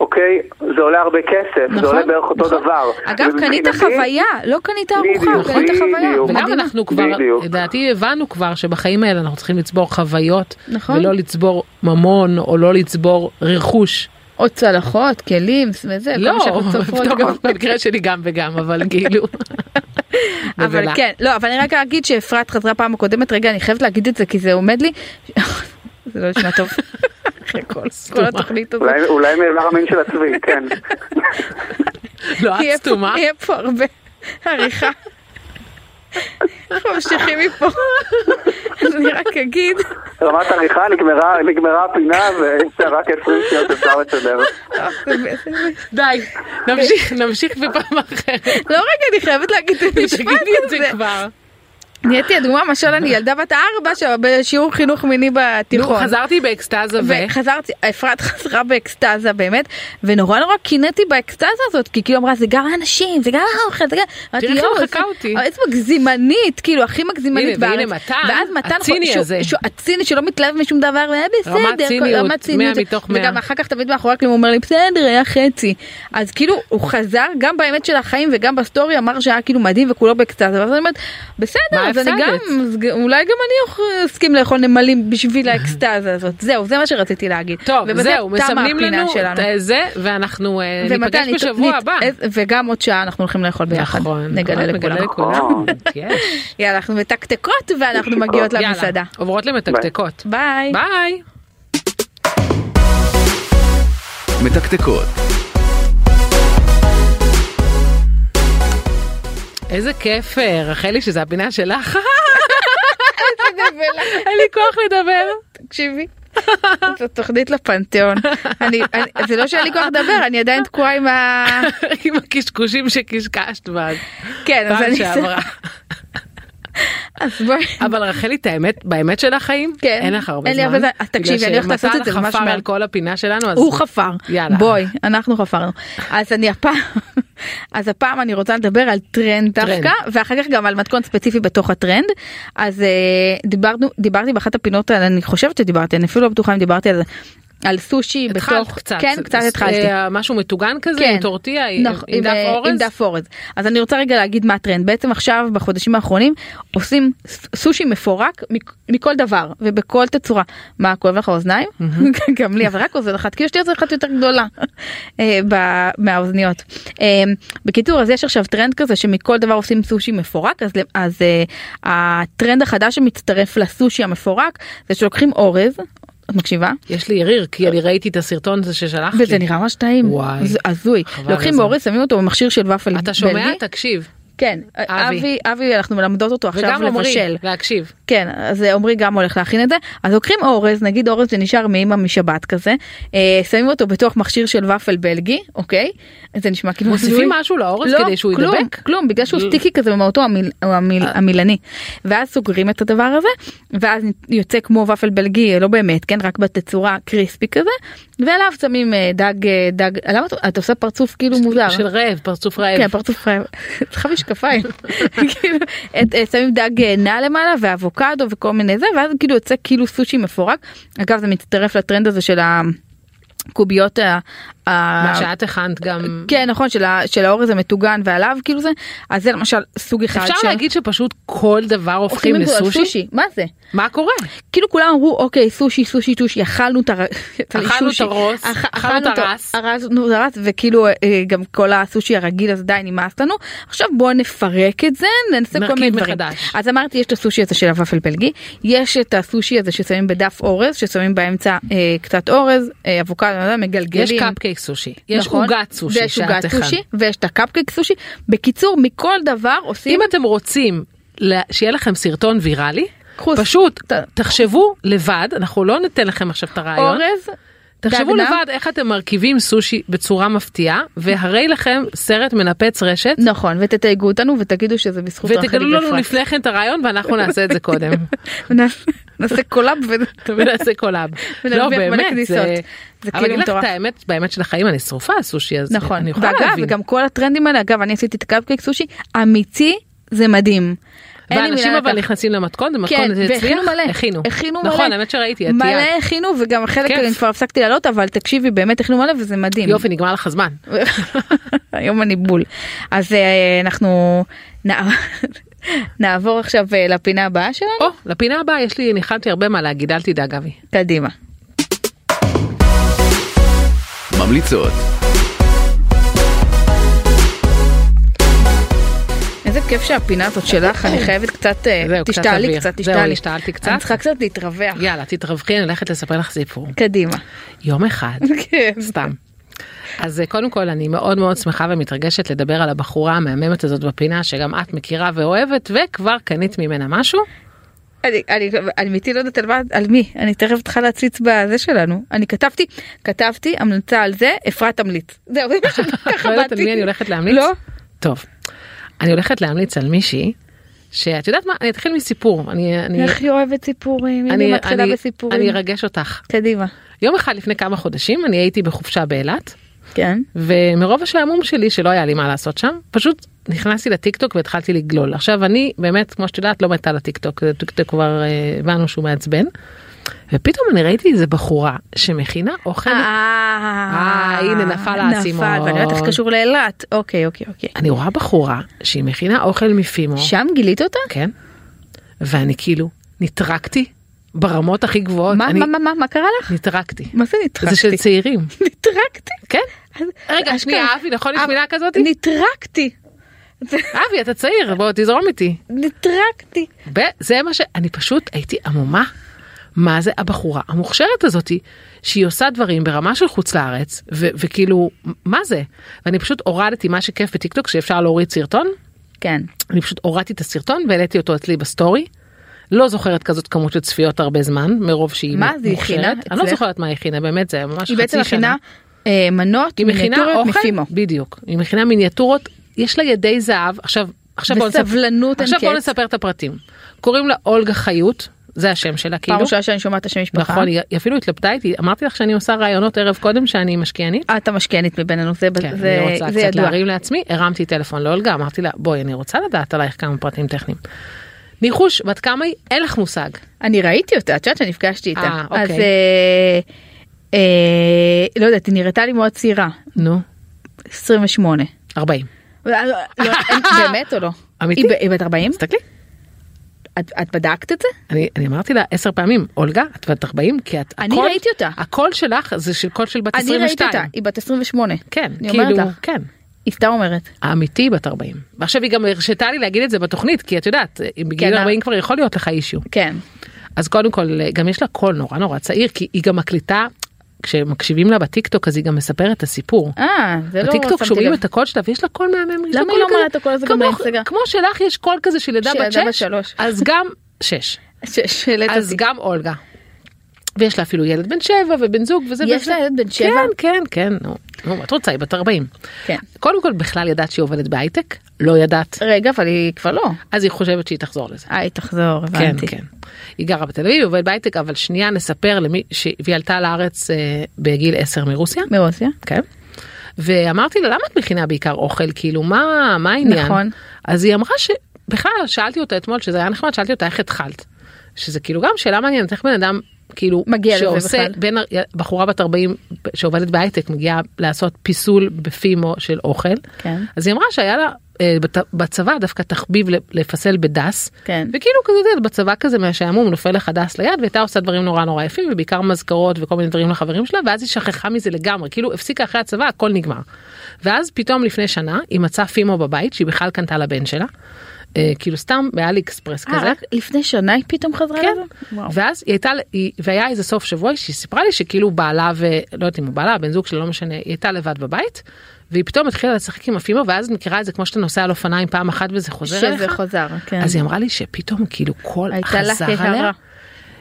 A: אוקיי, זה עולה הרבה כסף, זה עולה בערך אותו
C: נכון.
A: דבר.
C: אגב, קנית
A: ומבחינתי-
C: חוויה, לא קנית ארוחה,
A: בדיוק,
C: קנית חוויה.
A: בדיוק.
B: וגם
C: מדהים.
B: אנחנו כבר,
A: בדיוק.
B: לדעתי הבנו כבר שבחיים האלה אנחנו צריכים לצבור חוויות,
C: נכון.
B: ולא לצבור ממון או לא לצבור רכוש.
C: או צלחות, כלים, וזה, כל
B: לא,
C: מה שאנחנו צופרות.
B: טוב, במקרה שלי גם וגם, אבל כאילו.
C: אבל
B: בבלה.
C: כן, לא, אבל אני רק אגיד שאפרת חזרה פעם הקודמת, רגע, אני חייבת להגיד את זה כי זה עומד לי. זה לא נשמע טוב. אחרי כל- כל
B: סתומה.
C: התוכנית הזאת.
A: אולי- אולי מאיבר המין של עצמי, כן.
B: לא,
C: יהיה
B: את
C: פה-
B: סתומה.
C: יהיה פה הרבה עריכה. אנחנו ממשיכים מפה. אני רק אגיד,
A: רמת עריכה נגמרה, נגמרה הפינה ויש רק 20 שניות אפשר לסדר.
B: די, נמשיך, נמשיך בפעם אחרת.
C: לא רגע, אני חייבת להגיד את המשפט
B: תגידי את זה
C: הזה.
B: כבר.
C: נהייתי הדוגמה, משל אני ילדה בת ארבע ש- בשיעור חינוך מיני
B: נו,
C: בתיכון.
B: חזרתי באקסטזה ו...
C: וחזרתי, אפרת חזרה באקסטזה באמת, ונורא נורא קינאתי באקסטזה הזאת, כי כאילו אמרה זה גם האנשים, זה גם האוכל, זה גם... אמרתי,
B: איך היא
C: "יואו,
B: מחקה
C: איזה-
B: אותי."
C: אבל איזה מגזימנית, כאילו הכי מגזימנית
B: הנה,
C: בארץ.
B: והנה מתן,
C: ואז מתן,
B: הציני
C: שהוא-
B: הזה.
C: שהוא- הציני שלא מתלהב משום דבר, והיה בסדר, כל-
B: ציניות,
C: רמת ציניות,
B: מאה מתוך מאה.
C: וגם אחר כך תמיד מאחורי הקלעים הוא אומר לי בסדר, היה חצי. אז כאילו הוא חזר גם באמת של החיים וגם בסטורי אמר שהיה כאילו מדהים וכולו באקסטזה, ואז אני אומרת, בסדר,
B: מה
C: אז אני
B: הפסדת?"
C: גם, אז ג- אולי גם אני אוכ- אסכים לאכול נמלים בשביל האקסטזה הזאת. זהו, זה מה שרציתי להגיד.
B: טוב,
C: ובזה
B: זהו,
C: תמה
B: מסמנים
C: הפינה
B: לנו את
C: שלנו.
B: זה, ואנחנו אה,
C: ומתי
B: ניפגש
C: נת-
B: בשבוע
C: נת-
B: הבא.
C: אה, וגם עוד שעה אנחנו הולכים לאכול ביחד.
B: נכון,
C: נגלה
B: נכון,
C: לכולם.
A: לכולם.
B: יש.
C: יאללה, אנחנו מתקתקות ואנחנו
A: יאללה.
C: מגיעות
B: יאללה,
C: למסעדה.
B: עוברות למתקתקות.
C: ביי.
B: ביי.
D: מתקתקות.
B: איזה כיף, אה, רחלי, שזו הפינה שלך.
C: ולך.
B: אין לי כוח לדבר.
C: תקשיבי. זו תוכנית לפנתיאון. אני- אני- זה לא שהיה לי כוח לדבר, אני עדיין תקועה עם ה...
B: עם הקשקושים שקשקשת בה
C: כן, אז
B: פעם
C: אני...
B: שעברה.
C: אז בואי.
B: אבל רחלי, את האמת, באמת של החיים,
C: כן.
B: אין לך הרבה
C: אין לי
B: זמן.
C: הרבה זמן. אז תקשיבי,
B: בגלל
C: אני הולכת לעשות את זה
B: שמתן
C: ממש
B: חפר
C: מהר.
B: על כל הפינה שלנו, אז...
C: הוא חפר.
B: יאללה.
C: בואי, אנחנו חפרנו. אז אני הפעם, אז הפעם אני רוצה לדבר על טרנד
B: טרנד.
C: דווקא, ואחר כך גם על מתכון ספציפי בתוך הטרנד. אז אה, דיברנו, דיברתי באחת הפינות, האלה, אני חושבת שדיברתי, אני אפילו לא בטוחה אם דיברתי על זה. על סושי
B: התחלת
C: בתוך,
B: קצת.
C: כן קצת
B: אה,
C: התחלתי,
B: משהו מטוגן כזה,
C: כן.
B: עם טורטיה, עם
C: נכון,
B: עם דף
C: אה, עם
B: אורז.
C: דף אורז. אז אני רוצה רגע להגיד מה הטרנד. בעצם עכשיו בחודשים האחרונים עושים ס- סושי מפורק מק- מכל דבר ובכל תצורה. מה כואב לך האוזניים? גם לי אבל רק אוזן אחת כי יש לי אוזן אחת יותר גדולה אה, ב- מהאוזניות. אה, בקיצור אז יש עכשיו טרנד כזה שמכל דבר עושים סושי מפורק אז, ל- אז אה, הטרנד החדש שמצטרף לסושי המפורק זה שלוקחים אורז. את מקשיבה?
B: יש לי יריר, כי אני ראיתי את הסרטון הזה ששלחת לי.
C: וזה נראה ממש טעים,
B: וואי.
C: זה הזוי.
B: חבל על
C: לוקחים
B: הזמן.
C: אורז, שמים אותו במכשיר של ופל
B: אתה שומע?
C: בלגי.
B: תקשיב.
C: כן,
B: אבי.
C: אבי, אבי, אנחנו מלמדות אותו עכשיו
B: וגם עמרי,
C: לבשל.
B: להקשיב.
C: כן, אז עמרי גם הולך להכין את זה. אז לוקחים אורז, נגיד אורז שנשאר מאמא משבת כזה, אה, שמים אותו בתוך מכשיר של ופל בלגי, אוקיי? זה נשמע כאילו... הזוי.
B: מוסיפים משהו לאורז
C: לא,
B: כדי שהוא
C: כלום,
B: ידבק? אה.
C: כלום, בגלל שהוא
B: לא.
C: סטיקי כזה במהותו המיל- הוא המיל- המילני. ואז סוגרים את הדבר הזה, ואז יוצא כמו ופל בלגי, לא באמת, כן? רק בתצורה קריספי כזה, ועליו שמים אה, דג, אה, דג, למה את- את עושה פרצוף כאילו מוזר?
B: של רעב, פרצוף רעב.
C: כן, פרצוף חיים. צריכה משקפיים. כאילו, את- אה, שמים דג אה, נע למעלה ואבוקדו וכל מיני זה, ואז כאילו יוצא כאילו סושי מפורק. אגב, זה מצטרף לטרנד הזה של הקוביות ה... ה-
B: מה שאת הכנת גם.
C: כן, נכון, של ה- של האורז המטוגן ועליו, כאילו זה. אז זה למשל סוג אחד
B: אפשר
C: של...
B: להגיד שפשוט כל דבר הופכים
C: את זה על
B: לסושי?
C: מה זה?
B: מה קורה?
C: כאילו כולם אמרו אוקיי סושי סושי סושי אכלנו את הר- את
B: אכלנו
C: הסושי.
B: את הרוס,
C: אכ-
B: אכלנו את הרס.
C: ארזנו את הרס וכאילו אה, גם כל הסושי הרגיל אז די נמאס לנו עכשיו בוא נפרק את זה ננסה כל
B: נרכיב
C: מיני דברים.
B: מחדש.
C: אז אמרתי יש את הסושי הזה של הוואפל בלגי יש את הסושי הזה ששמים בדף אורז ששמים באמצע אה, קצת אורז אה, אבוקדו אה, מגלגלים.
B: יש קפקייק סושי. יש
C: נכון?
B: עוגת סושי
C: ויש עוגת
B: שאת הכנת.
C: סושי ויש את הקפקייק סושי בקיצור מכל דבר עושים
B: אם אתם רוצים לה- שיהיה לכם סרטון ויראלי,
C: חוס.
B: פשוט ת- תחשבו לבד, אנחנו לא ניתן לכם עכשיו את הרעיון,
C: אורז,
B: תחשבו
C: דגנה.
B: לבד איך אתם מרכיבים סושי בצורה מפתיעה, והרי לכם סרט מנפץ רשת,
C: נכון, ותתייגו אותנו ותגידו שזה בזכות רחלי
B: ותגלו לנו
C: ואפרת.
B: לפני כן את הרעיון ואנחנו נעשה את זה קודם.
C: נ- נעשה קולאב ו-
B: תמיד נעשה קולאב. לא
C: ונרוויח מלא
B: באמת,
C: כניסות.
B: זה...
C: זה
B: אבל
C: כאילו
B: אגיד לך את
C: מטורף.
B: האמת, באמת של החיים אני שרופה על סושי, אז
C: נכון,
B: אני יכולה
C: ואגב,
B: להבין.
C: וגם כל הטרנדים האלה, אגב, אני עשיתי את הקפקייק סושי, אמיתי, זה מדהים. אין לי
B: ואנשים
C: מילה
B: אבל
C: לתת.
B: נכנסים למתכון, זה מתכון, זה הצליח?
C: והכינו מלא,
B: הכינו.
C: הכינו מלא,
B: נכון, האמת שראיתי, את
C: מלא
B: תיארת.
C: הכינו וגם חלק
B: כיף.
C: אני כבר הפסקתי לעלות אבל תקשיבי באמת הכינו מלא וזה מדהים.
B: יופי, נגמר לך זמן.
C: היום אני בול. אז אה, אנחנו נע- נעבור עכשיו אה, לפינה הבאה שלנו,
B: או, לפינה הבאה יש לי, ניחנתי הרבה מה להגיד, אל תדאג אבי.
C: קדימה.
D: ממליצות,
C: איזה כיף שהפינה הזאת שלך אני חייבת קצת אה,
B: זהו, קצת
C: תשתעלי
B: אוויר.
C: קצת
B: זהו,
C: תשתעלי.
B: השתעלתי קצת.
C: אני צריכה קצת להתרווח.
B: יאללה, תתרווחי, אני הולכת לספר לך סיפור.
C: קדימה.
B: יום אחד,
C: כן.
B: סתם. אז אה, קודם כל אני מאוד מאוד שמחה ומתרגשת לדבר על הבחורה המהממת הזאת בפינה שגם את מכירה ואוהבת וכבר קנית ממנה משהו.
C: אני- אני אני אמיתי לא יודעת על מה- על מי אני תכף צריכה להציץ בזה שלנו אני כתבתי כתבתי המלצה על זה אפרת תמליץ. זהו זה מה שככה באתי.
B: לא יודעת על מי אני הולכת להמליץ?
C: לא?
B: טוב. אני הולכת להמליץ על מישהי שאת יודעת מה, אני אתחיל מסיפור. אני, אני,
C: איך היא אוהבת סיפורים, אם
B: אני,
C: היא מתחילה
B: אני,
C: בסיפורים.
B: אני ארגש אותך.
C: קדימה.
B: יום אחד לפני כמה חודשים אני הייתי בחופשה באילת,
C: כן.
B: ומרוב השעמום שלי שלא היה לי מה לעשות שם, פשוט נכנסתי לטיק טוק והתחלתי לגלול. עכשיו אני באמת, כמו שאת יודעת, לא מתה לטיק טוק, טיק טוק כבר אה, הבנו שהוא מעצבן. ופתאום אני ראיתי איזה בחורה שמכינה אוכל, אה, הנה, נפל האסימון.
C: נפל, ואני יודעת איך קשור לאילת. אוקיי, אוקיי, אוקיי.
B: אני רואה בחורה שהיא מכינה אוכל מפימו.
C: שם גילית אותה?
B: כן. ואני כאילו נטרקתי ברמות הכי גבוהות.
C: מה,
B: אני
C: מה, מה, מה, מה קרה לך?
B: נטרקתי.
C: מה זה נטרקתי?
B: זה של צעירים.
C: נטרקתי?
B: כן.
C: אז-
B: רגע,
C: אז
B: שנייה,
C: כן.
B: אבי, נכון? יש
C: אב-
B: מילה כזאת?
C: נטרקתי. זה-
B: אבי, אתה צעיר, בוא תזרום איתי.
C: נטרקתי.
B: וזה מה ש... אני פשוט הייתי עמומה. מה זה הבחורה המוכשרת הזאתי, שהיא עושה דברים ברמה של חוץ לארץ, ו- וכאילו, מה זה? ואני פשוט הורדתי מה שכיף בטיקטוק, שאפשר להוריד סרטון,
C: כן.
B: אני פשוט הורדתי את הסרטון והעליתי אותו אצלי בסטורי. לא זוכרת כזאת כמות של צפיות הרבה זמן, מרוב שהיא
C: מה
B: מוכשרת.
C: זה הכינה
B: אני לא
C: אצלך?
B: זוכרת מה היא הכינה, באמת, זה היה ממש חצי
C: היא
B: שנה.
C: בעצם מכינה אה, מנות
B: היא מכינה
C: מיניאטוריות
B: אוכל,
C: מפימו.
B: בדיוק, היא מכינה מיניאטורות, יש לה ידי זהב, עכשיו, עכשיו בוא נספר,
C: בסבלנות אין
B: עכשיו בוא
C: קץ.
B: נספר את הפרטים. קוראים לה אולגה חיות, זה השם שלה כאילו,
C: פעם ראשונה שאני שומעת את השם משפחה.
B: נכון, היא היא אפילו התלבטה איתי, אמרתי לך שאני עושה רעיונות ערב קודם שאני משקיענית.
C: אה, את המשקיענית מבינינו, זה
B: כן,
C: זה-
B: אני רוצה
C: זה
B: קצת
C: ידוע.
B: להרים לעצמי, הרמתי טלפון לאולגה, אמרתי לה, בואי, אני רוצה לדעת עלייך כמה פרטים טכניים. ניחוש, בת כמה היא? אין לך מושג.
C: אני ראיתי אותה, את יודעת שנפגשתי איתה.
B: אה, אוקיי.
C: אז אה, אה, לא יודעת, היא נראתה לי מאוד צעירה,
B: נו,
C: 28.
B: 40.
C: לא, לא, אין- באמת או לא?
B: אמיתי?
C: היא ב- היא בת 40?
B: תסתכלי.
C: את את בדקת את זה?
B: אני, אני אמרתי לה עשר פעמים, אולגה, את בת 40? כי את...
C: אני ראיתי אותה.
B: הקול שלך זה של קול של בת
C: אני
B: 22.
C: ראיתי אותה, היא בת 28.
B: כן,
C: אני
B: כאילו,
C: אומרת לך.
B: כן.
C: היא סתם אומרת.
B: האמיתי בת 40. ועכשיו היא גם הרשתה לי להגיד את זה בתוכנית, כי את יודעת, בגיל
C: כן,
B: 40 כבר יכול להיות לך אישיו.
C: כן.
B: אז קודם כל, גם יש לה קול נורא נורא צעיר, כי היא גם מקליטה, כשמקשיבים לה בטיקטוק, אז היא גם מספרת את הסיפור.
C: אה, זה לא
B: בטיקטוק
C: שמתי
B: שומעים
C: לב.
B: את הקול שלה ויש לה קול מהמם. יש לה
C: למה
B: קול
C: היא לא
B: כזה-
C: מראה את הקול הזה גם
B: כמו-
C: באינסטגרם?
B: כמו שלך יש קול כזה של ילדה בת
C: שילדה בת
B: שש,
C: שלוש.
B: אז גם שש,
C: ש- שהעלית
B: אז
C: אותי.
B: גם אולגה. ויש לה אפילו ילד בן שבע ובן זוג וזה.
C: יש
B: וזה.
C: לה ילד בן שבע?
B: כן, כן, כן, נו, נו, מה את רוצה, היא בת 40.
C: כן.
B: קודם כל בכלל ידעת שהיא עובדת בהייטק? לא ידעת.
C: רגע, אבל היא כבר לא.
B: אז היא חושבת שהיא תחזור לזה.
C: אה, היא תחזור,
B: כן,
C: הבנתי.
B: כן. היא גרה בתל אביב, היא עובדת בהייטק, אבל שנייה נספר למי ש... והיא עלתה לארץ אה, בגיל 10 מרוסיה.
C: מרוסיה?
B: כן. ואמרתי לה, למה את מכינה בעיקר אוכל? כאילו, מה, מה העניין?
C: נכון.
B: אז היא אמרה שבכלל, שאלתי אותה אתמול, שזה היה נחמד, שאלתי אותה איך התחלת. שזה כאילו גם שאלה מעניינת, איך בן אדם, כאילו,
C: מגיע לזה
B: שעושה,
C: בכלל.
B: בין, ה- בחורה בת 40 שעובדת בהייטק, מגיעה לעשות פיסול בפימו של אוכל.
C: כן.
B: אז היא אמרה שהיה לה אה, בת- בצבא דווקא תחביב לפסל בדס.
C: כן.
B: וכאילו כזה אתה יודע, בצבא כזה מהשעמום נופל לך דס ליד והייתה עושה דברים נורא נורא יפים ובעיקר מזכרות וכל מיני דברים לחברים שלה ואז היא שכחה מזה לגמרי כאילו הפסיקה אחרי הצבא הכל נגמר. ואז פתאום לפני שנה היא מצאה פימו בבית שהיא בכלל קנתה לבן שלה. אה, כאילו סתם באלי אקספרס
C: אה,
B: כזה.
C: רק לפני שנה היא פתאום חזרה
B: כן.
C: לזה? וואו.
B: ואז היא הייתה, היא, והיה איזה לא סוף שבוע שהיא סיפרה לי שכאילו בעלה ולא יודעת אם הוא בעלה, בן זוג שלה, לא משנה, היא הייתה לבד בבית. והיא פתאום התחילה לשחק עם הפימו ואז את מכירה את זה כמו שאתה נוסע על אופניים פעם אחת וזה חוזר
C: שזה
B: אליך.
C: חוזר, כן.
B: אז היא אמרה לי שפתאום כאילו כל
C: הייתה לה
B: חזר
C: הערה.
B: עליה.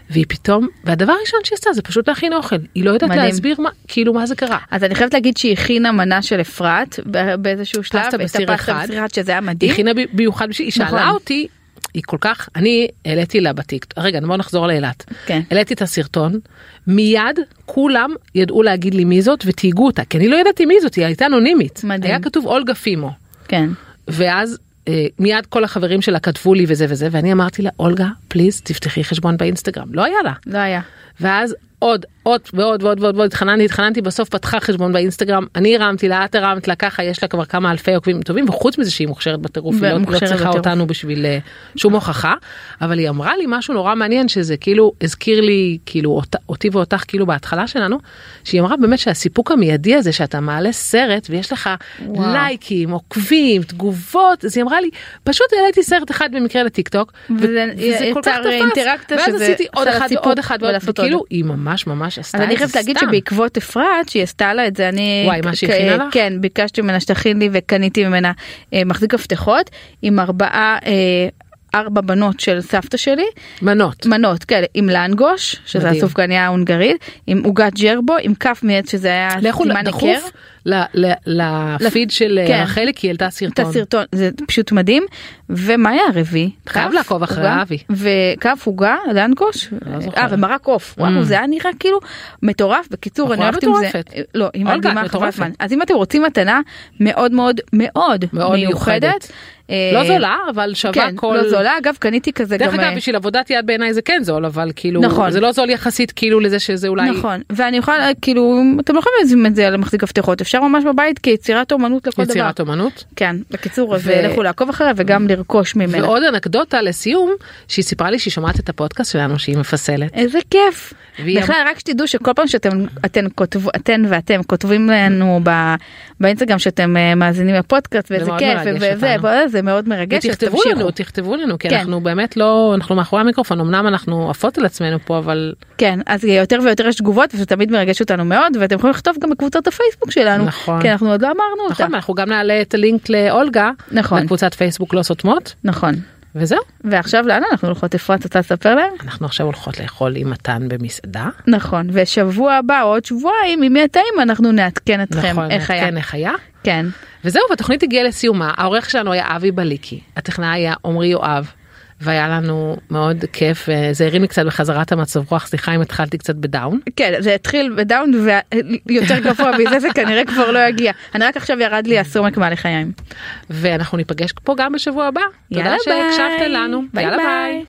B: והיא פתאום, והדבר הראשון שהיא עשתה זה פשוט להכין אוכל. היא לא יודעת
C: מדהים.
B: להסביר מה, כאילו מה זה קרה.
C: אז אני חייבת להגיד שהיא הכינה מנה של אפרת ב- באיזשהו שלב,
B: פסטה
C: את
B: בסיר
C: הפסטה
B: אחד.
C: בסיר אחד, שזה היה
B: היא
C: מדהים.
B: הכינה ב- במיוחד בשביל, היא שאלה
C: נכון.
B: אותי, היא כל כך, אני העליתי לה בטיקט, רגע בוא נחזור לאילת.
C: כן.
B: העליתי את הסרטון, מיד כולם ידעו להגיד לי מי זאת ותהיגו אותה, כי אני לא ידעתי מי זאת, היא הייתה אנונימית.
C: מדהים.
B: היה כתוב אולגה פימו.
C: כן.
B: ואז אה, מיד כל החברים שלה כתבו לי וזה וזה, ואני אמרתי לה, אולגה, פליז תפתחי חשבון באינסטגרם. לא היה לה.
C: לא היה.
B: ואז עוד, עוד ועוד ועוד ועוד ועוד, התחננתי, התחננתי, בסוף פתחה חשבון באינסטגרם, אני הרמתי לה, את הרמת לה, ככה יש לה כבר כמה אלפי עוקבים טובים, וחוץ מזה שהיא מוכשרת בטירוף, היא לא, לא
C: ומוכשרת
B: צריכה
C: בטירוף.
B: אותנו בשביל אה, שום הוכחה, אבל היא אמרה לי משהו נורא מעניין, שזה כאילו הזכיר לי, כאילו אות, אותי ואותך, כאילו בהתחלה שלנו, שהיא אמרה באמת שהסיפוק המיידי הזה, שאתה מעלה סרט ויש לך
C: וואו.
B: לייקים, עוקבים, תגובות, אז היא אמרה לי, פשוט העליתי סרט אחד במקרה לטיק טוק, ו-
C: וזה יצר אינטראקציה
B: ואז
C: שזה
B: עשיתי עוד
C: עשה
B: אחד
C: לסיפור
B: ועוד אחד ועוד אחד,
C: ולעשות עוד.
B: וכאילו היא ממש ממש עשתה
C: אז
B: את
C: אני
B: זה
C: חייבת להגיד
B: סתם.
C: שבעקבות אפרת שהיא עשתה לה את זה אני
B: וואי, מה שהיא
C: כ-
B: הכינה לך?
C: כן ביקשתי ממנה שתכין לי וקניתי ממנה אה, מחזיק מפתחות עם ארבעה אה, ארבע בנות של סבתא שלי
B: מנות.
C: מנות כאלה עם לנגוש שזה
B: מדהים.
C: הסופגניה ההונגרית עם עוגת ג'רבו עם כף מעץ שזה היה
B: לכו
C: סימן היכר.
B: דחוף ל- ל- לפיד של
C: כן.
B: אה, רחלי כי היא העלתה
C: את
B: סרטון.
C: הסרטון זה פשוט מדהים ומה היה הרביעי?
B: חייב
C: כף,
B: לעקוב אחרי
C: עוגה,
B: אבי.
C: וכף עוגה לנגוש
B: לא זוכרת.
C: אה ומרק עוף וואו זה היה נראה כאילו מטורף בקיצור אני
B: בחורה
C: הולכת עם זה
B: אוקיי, מטורפת.
C: לא היא
B: אולגה,
C: מדהימה
B: את
C: חברת
B: מטורפת.
C: זמן אז אם אתם רוצים מתנה מאוד מאוד מאוד
B: מאוד
C: מיוחדת
B: מיוחדת.
C: אה,
B: לא זולה אבל שווה
C: כן
B: כל...
C: לא זולה אגב קניתי כזה
B: דרך
C: גם
B: אגב
C: אה,
B: בשביל עבודת יד בעיניי זה כן זול אבל כאילו
C: נכון.
B: זה לא זול יחסית כאילו לזה שזה אולי
C: נכון ואני יכולה כאילו אתם לא יכולים להזמין את זה על המחזיק מפתחות אפשר ממש בבית כיצירת אומנות לכל דבר
B: יצירת אומנות.
C: כן בקיצור אז
B: ו-
C: לכו לעקוב אחריה וגם לרכוש ממנה
B: ועוד אנקדוטה לסיום שהיא סיפרה לי שהיא שומעת את הפודקאסט שלנו שהיא מפסלת.
C: איזה כיף.
B: והיא
C: בכלל רק שתדעו שכל פעם שאתם אתן כותבו אתן ואתם כותבים לנו ב- באינסטגרם שאתם אה, מאזינים לפודקאסט
B: זה
C: ואיזה
B: מאוד
C: כיף
B: מרגש
C: וזה
B: אותנו.
C: וזה, זה מאוד מרגש. אז
B: ותכתבו
C: תמשיכו.
B: לנו, תכתבו לנו, כי
C: כן.
B: אנחנו באמת לא, אנחנו מאחורי המיקרופון, אמנם אנחנו עפות על עצמנו פה, אבל
C: כן אז יותר ויותר יש תגובות וזה תמיד מרגש אותנו מאוד ואתם יכולים לכתוב גם בקבוצת הפייסבוק שלנו.
B: נכון.
C: כי אנחנו עוד לא אמרנו אותה.
B: נכון, אנחנו גם נעלה את הלינק לאולגה,
C: נכון.
B: לקבוצת פייסבוק לא סותמות,
C: נכון.
B: וזהו.
C: ועכשיו לאן אנחנו הולכות אפרת אתה תספר להם?
B: אנחנו עכשיו הולכות לאכול עם מתן במסעדה.
C: נכון ושבוע הבא או עוד שבועיים אם יהיה טעים אנחנו נעדכן אתכם
B: נכון,
C: איך היה.
B: כן, איך היה.
C: כן.
B: וזהו, והתוכנית הגיעה לסיומה, העורך שלנו היה אבי בליקי, הטכנאי היה עמרי יואב, והיה לנו מאוד כיף, וזה הרים לי קצת בחזרת המצב רוח, סליחה אם התחלתי קצת בדאון.
C: כן זה התחיל בדאון ויותר גבוה מזה זה כנראה כבר לא יגיע אני רק עכשיו ירד לי הסומק מהלחיים.
B: ואנחנו ניפגש פה גם בשבוע הבא.
C: יאללה
B: תודה
C: ביי.
B: שהקשבתם לנו.
C: ביי
B: יאללה
C: ביי.
B: ביי.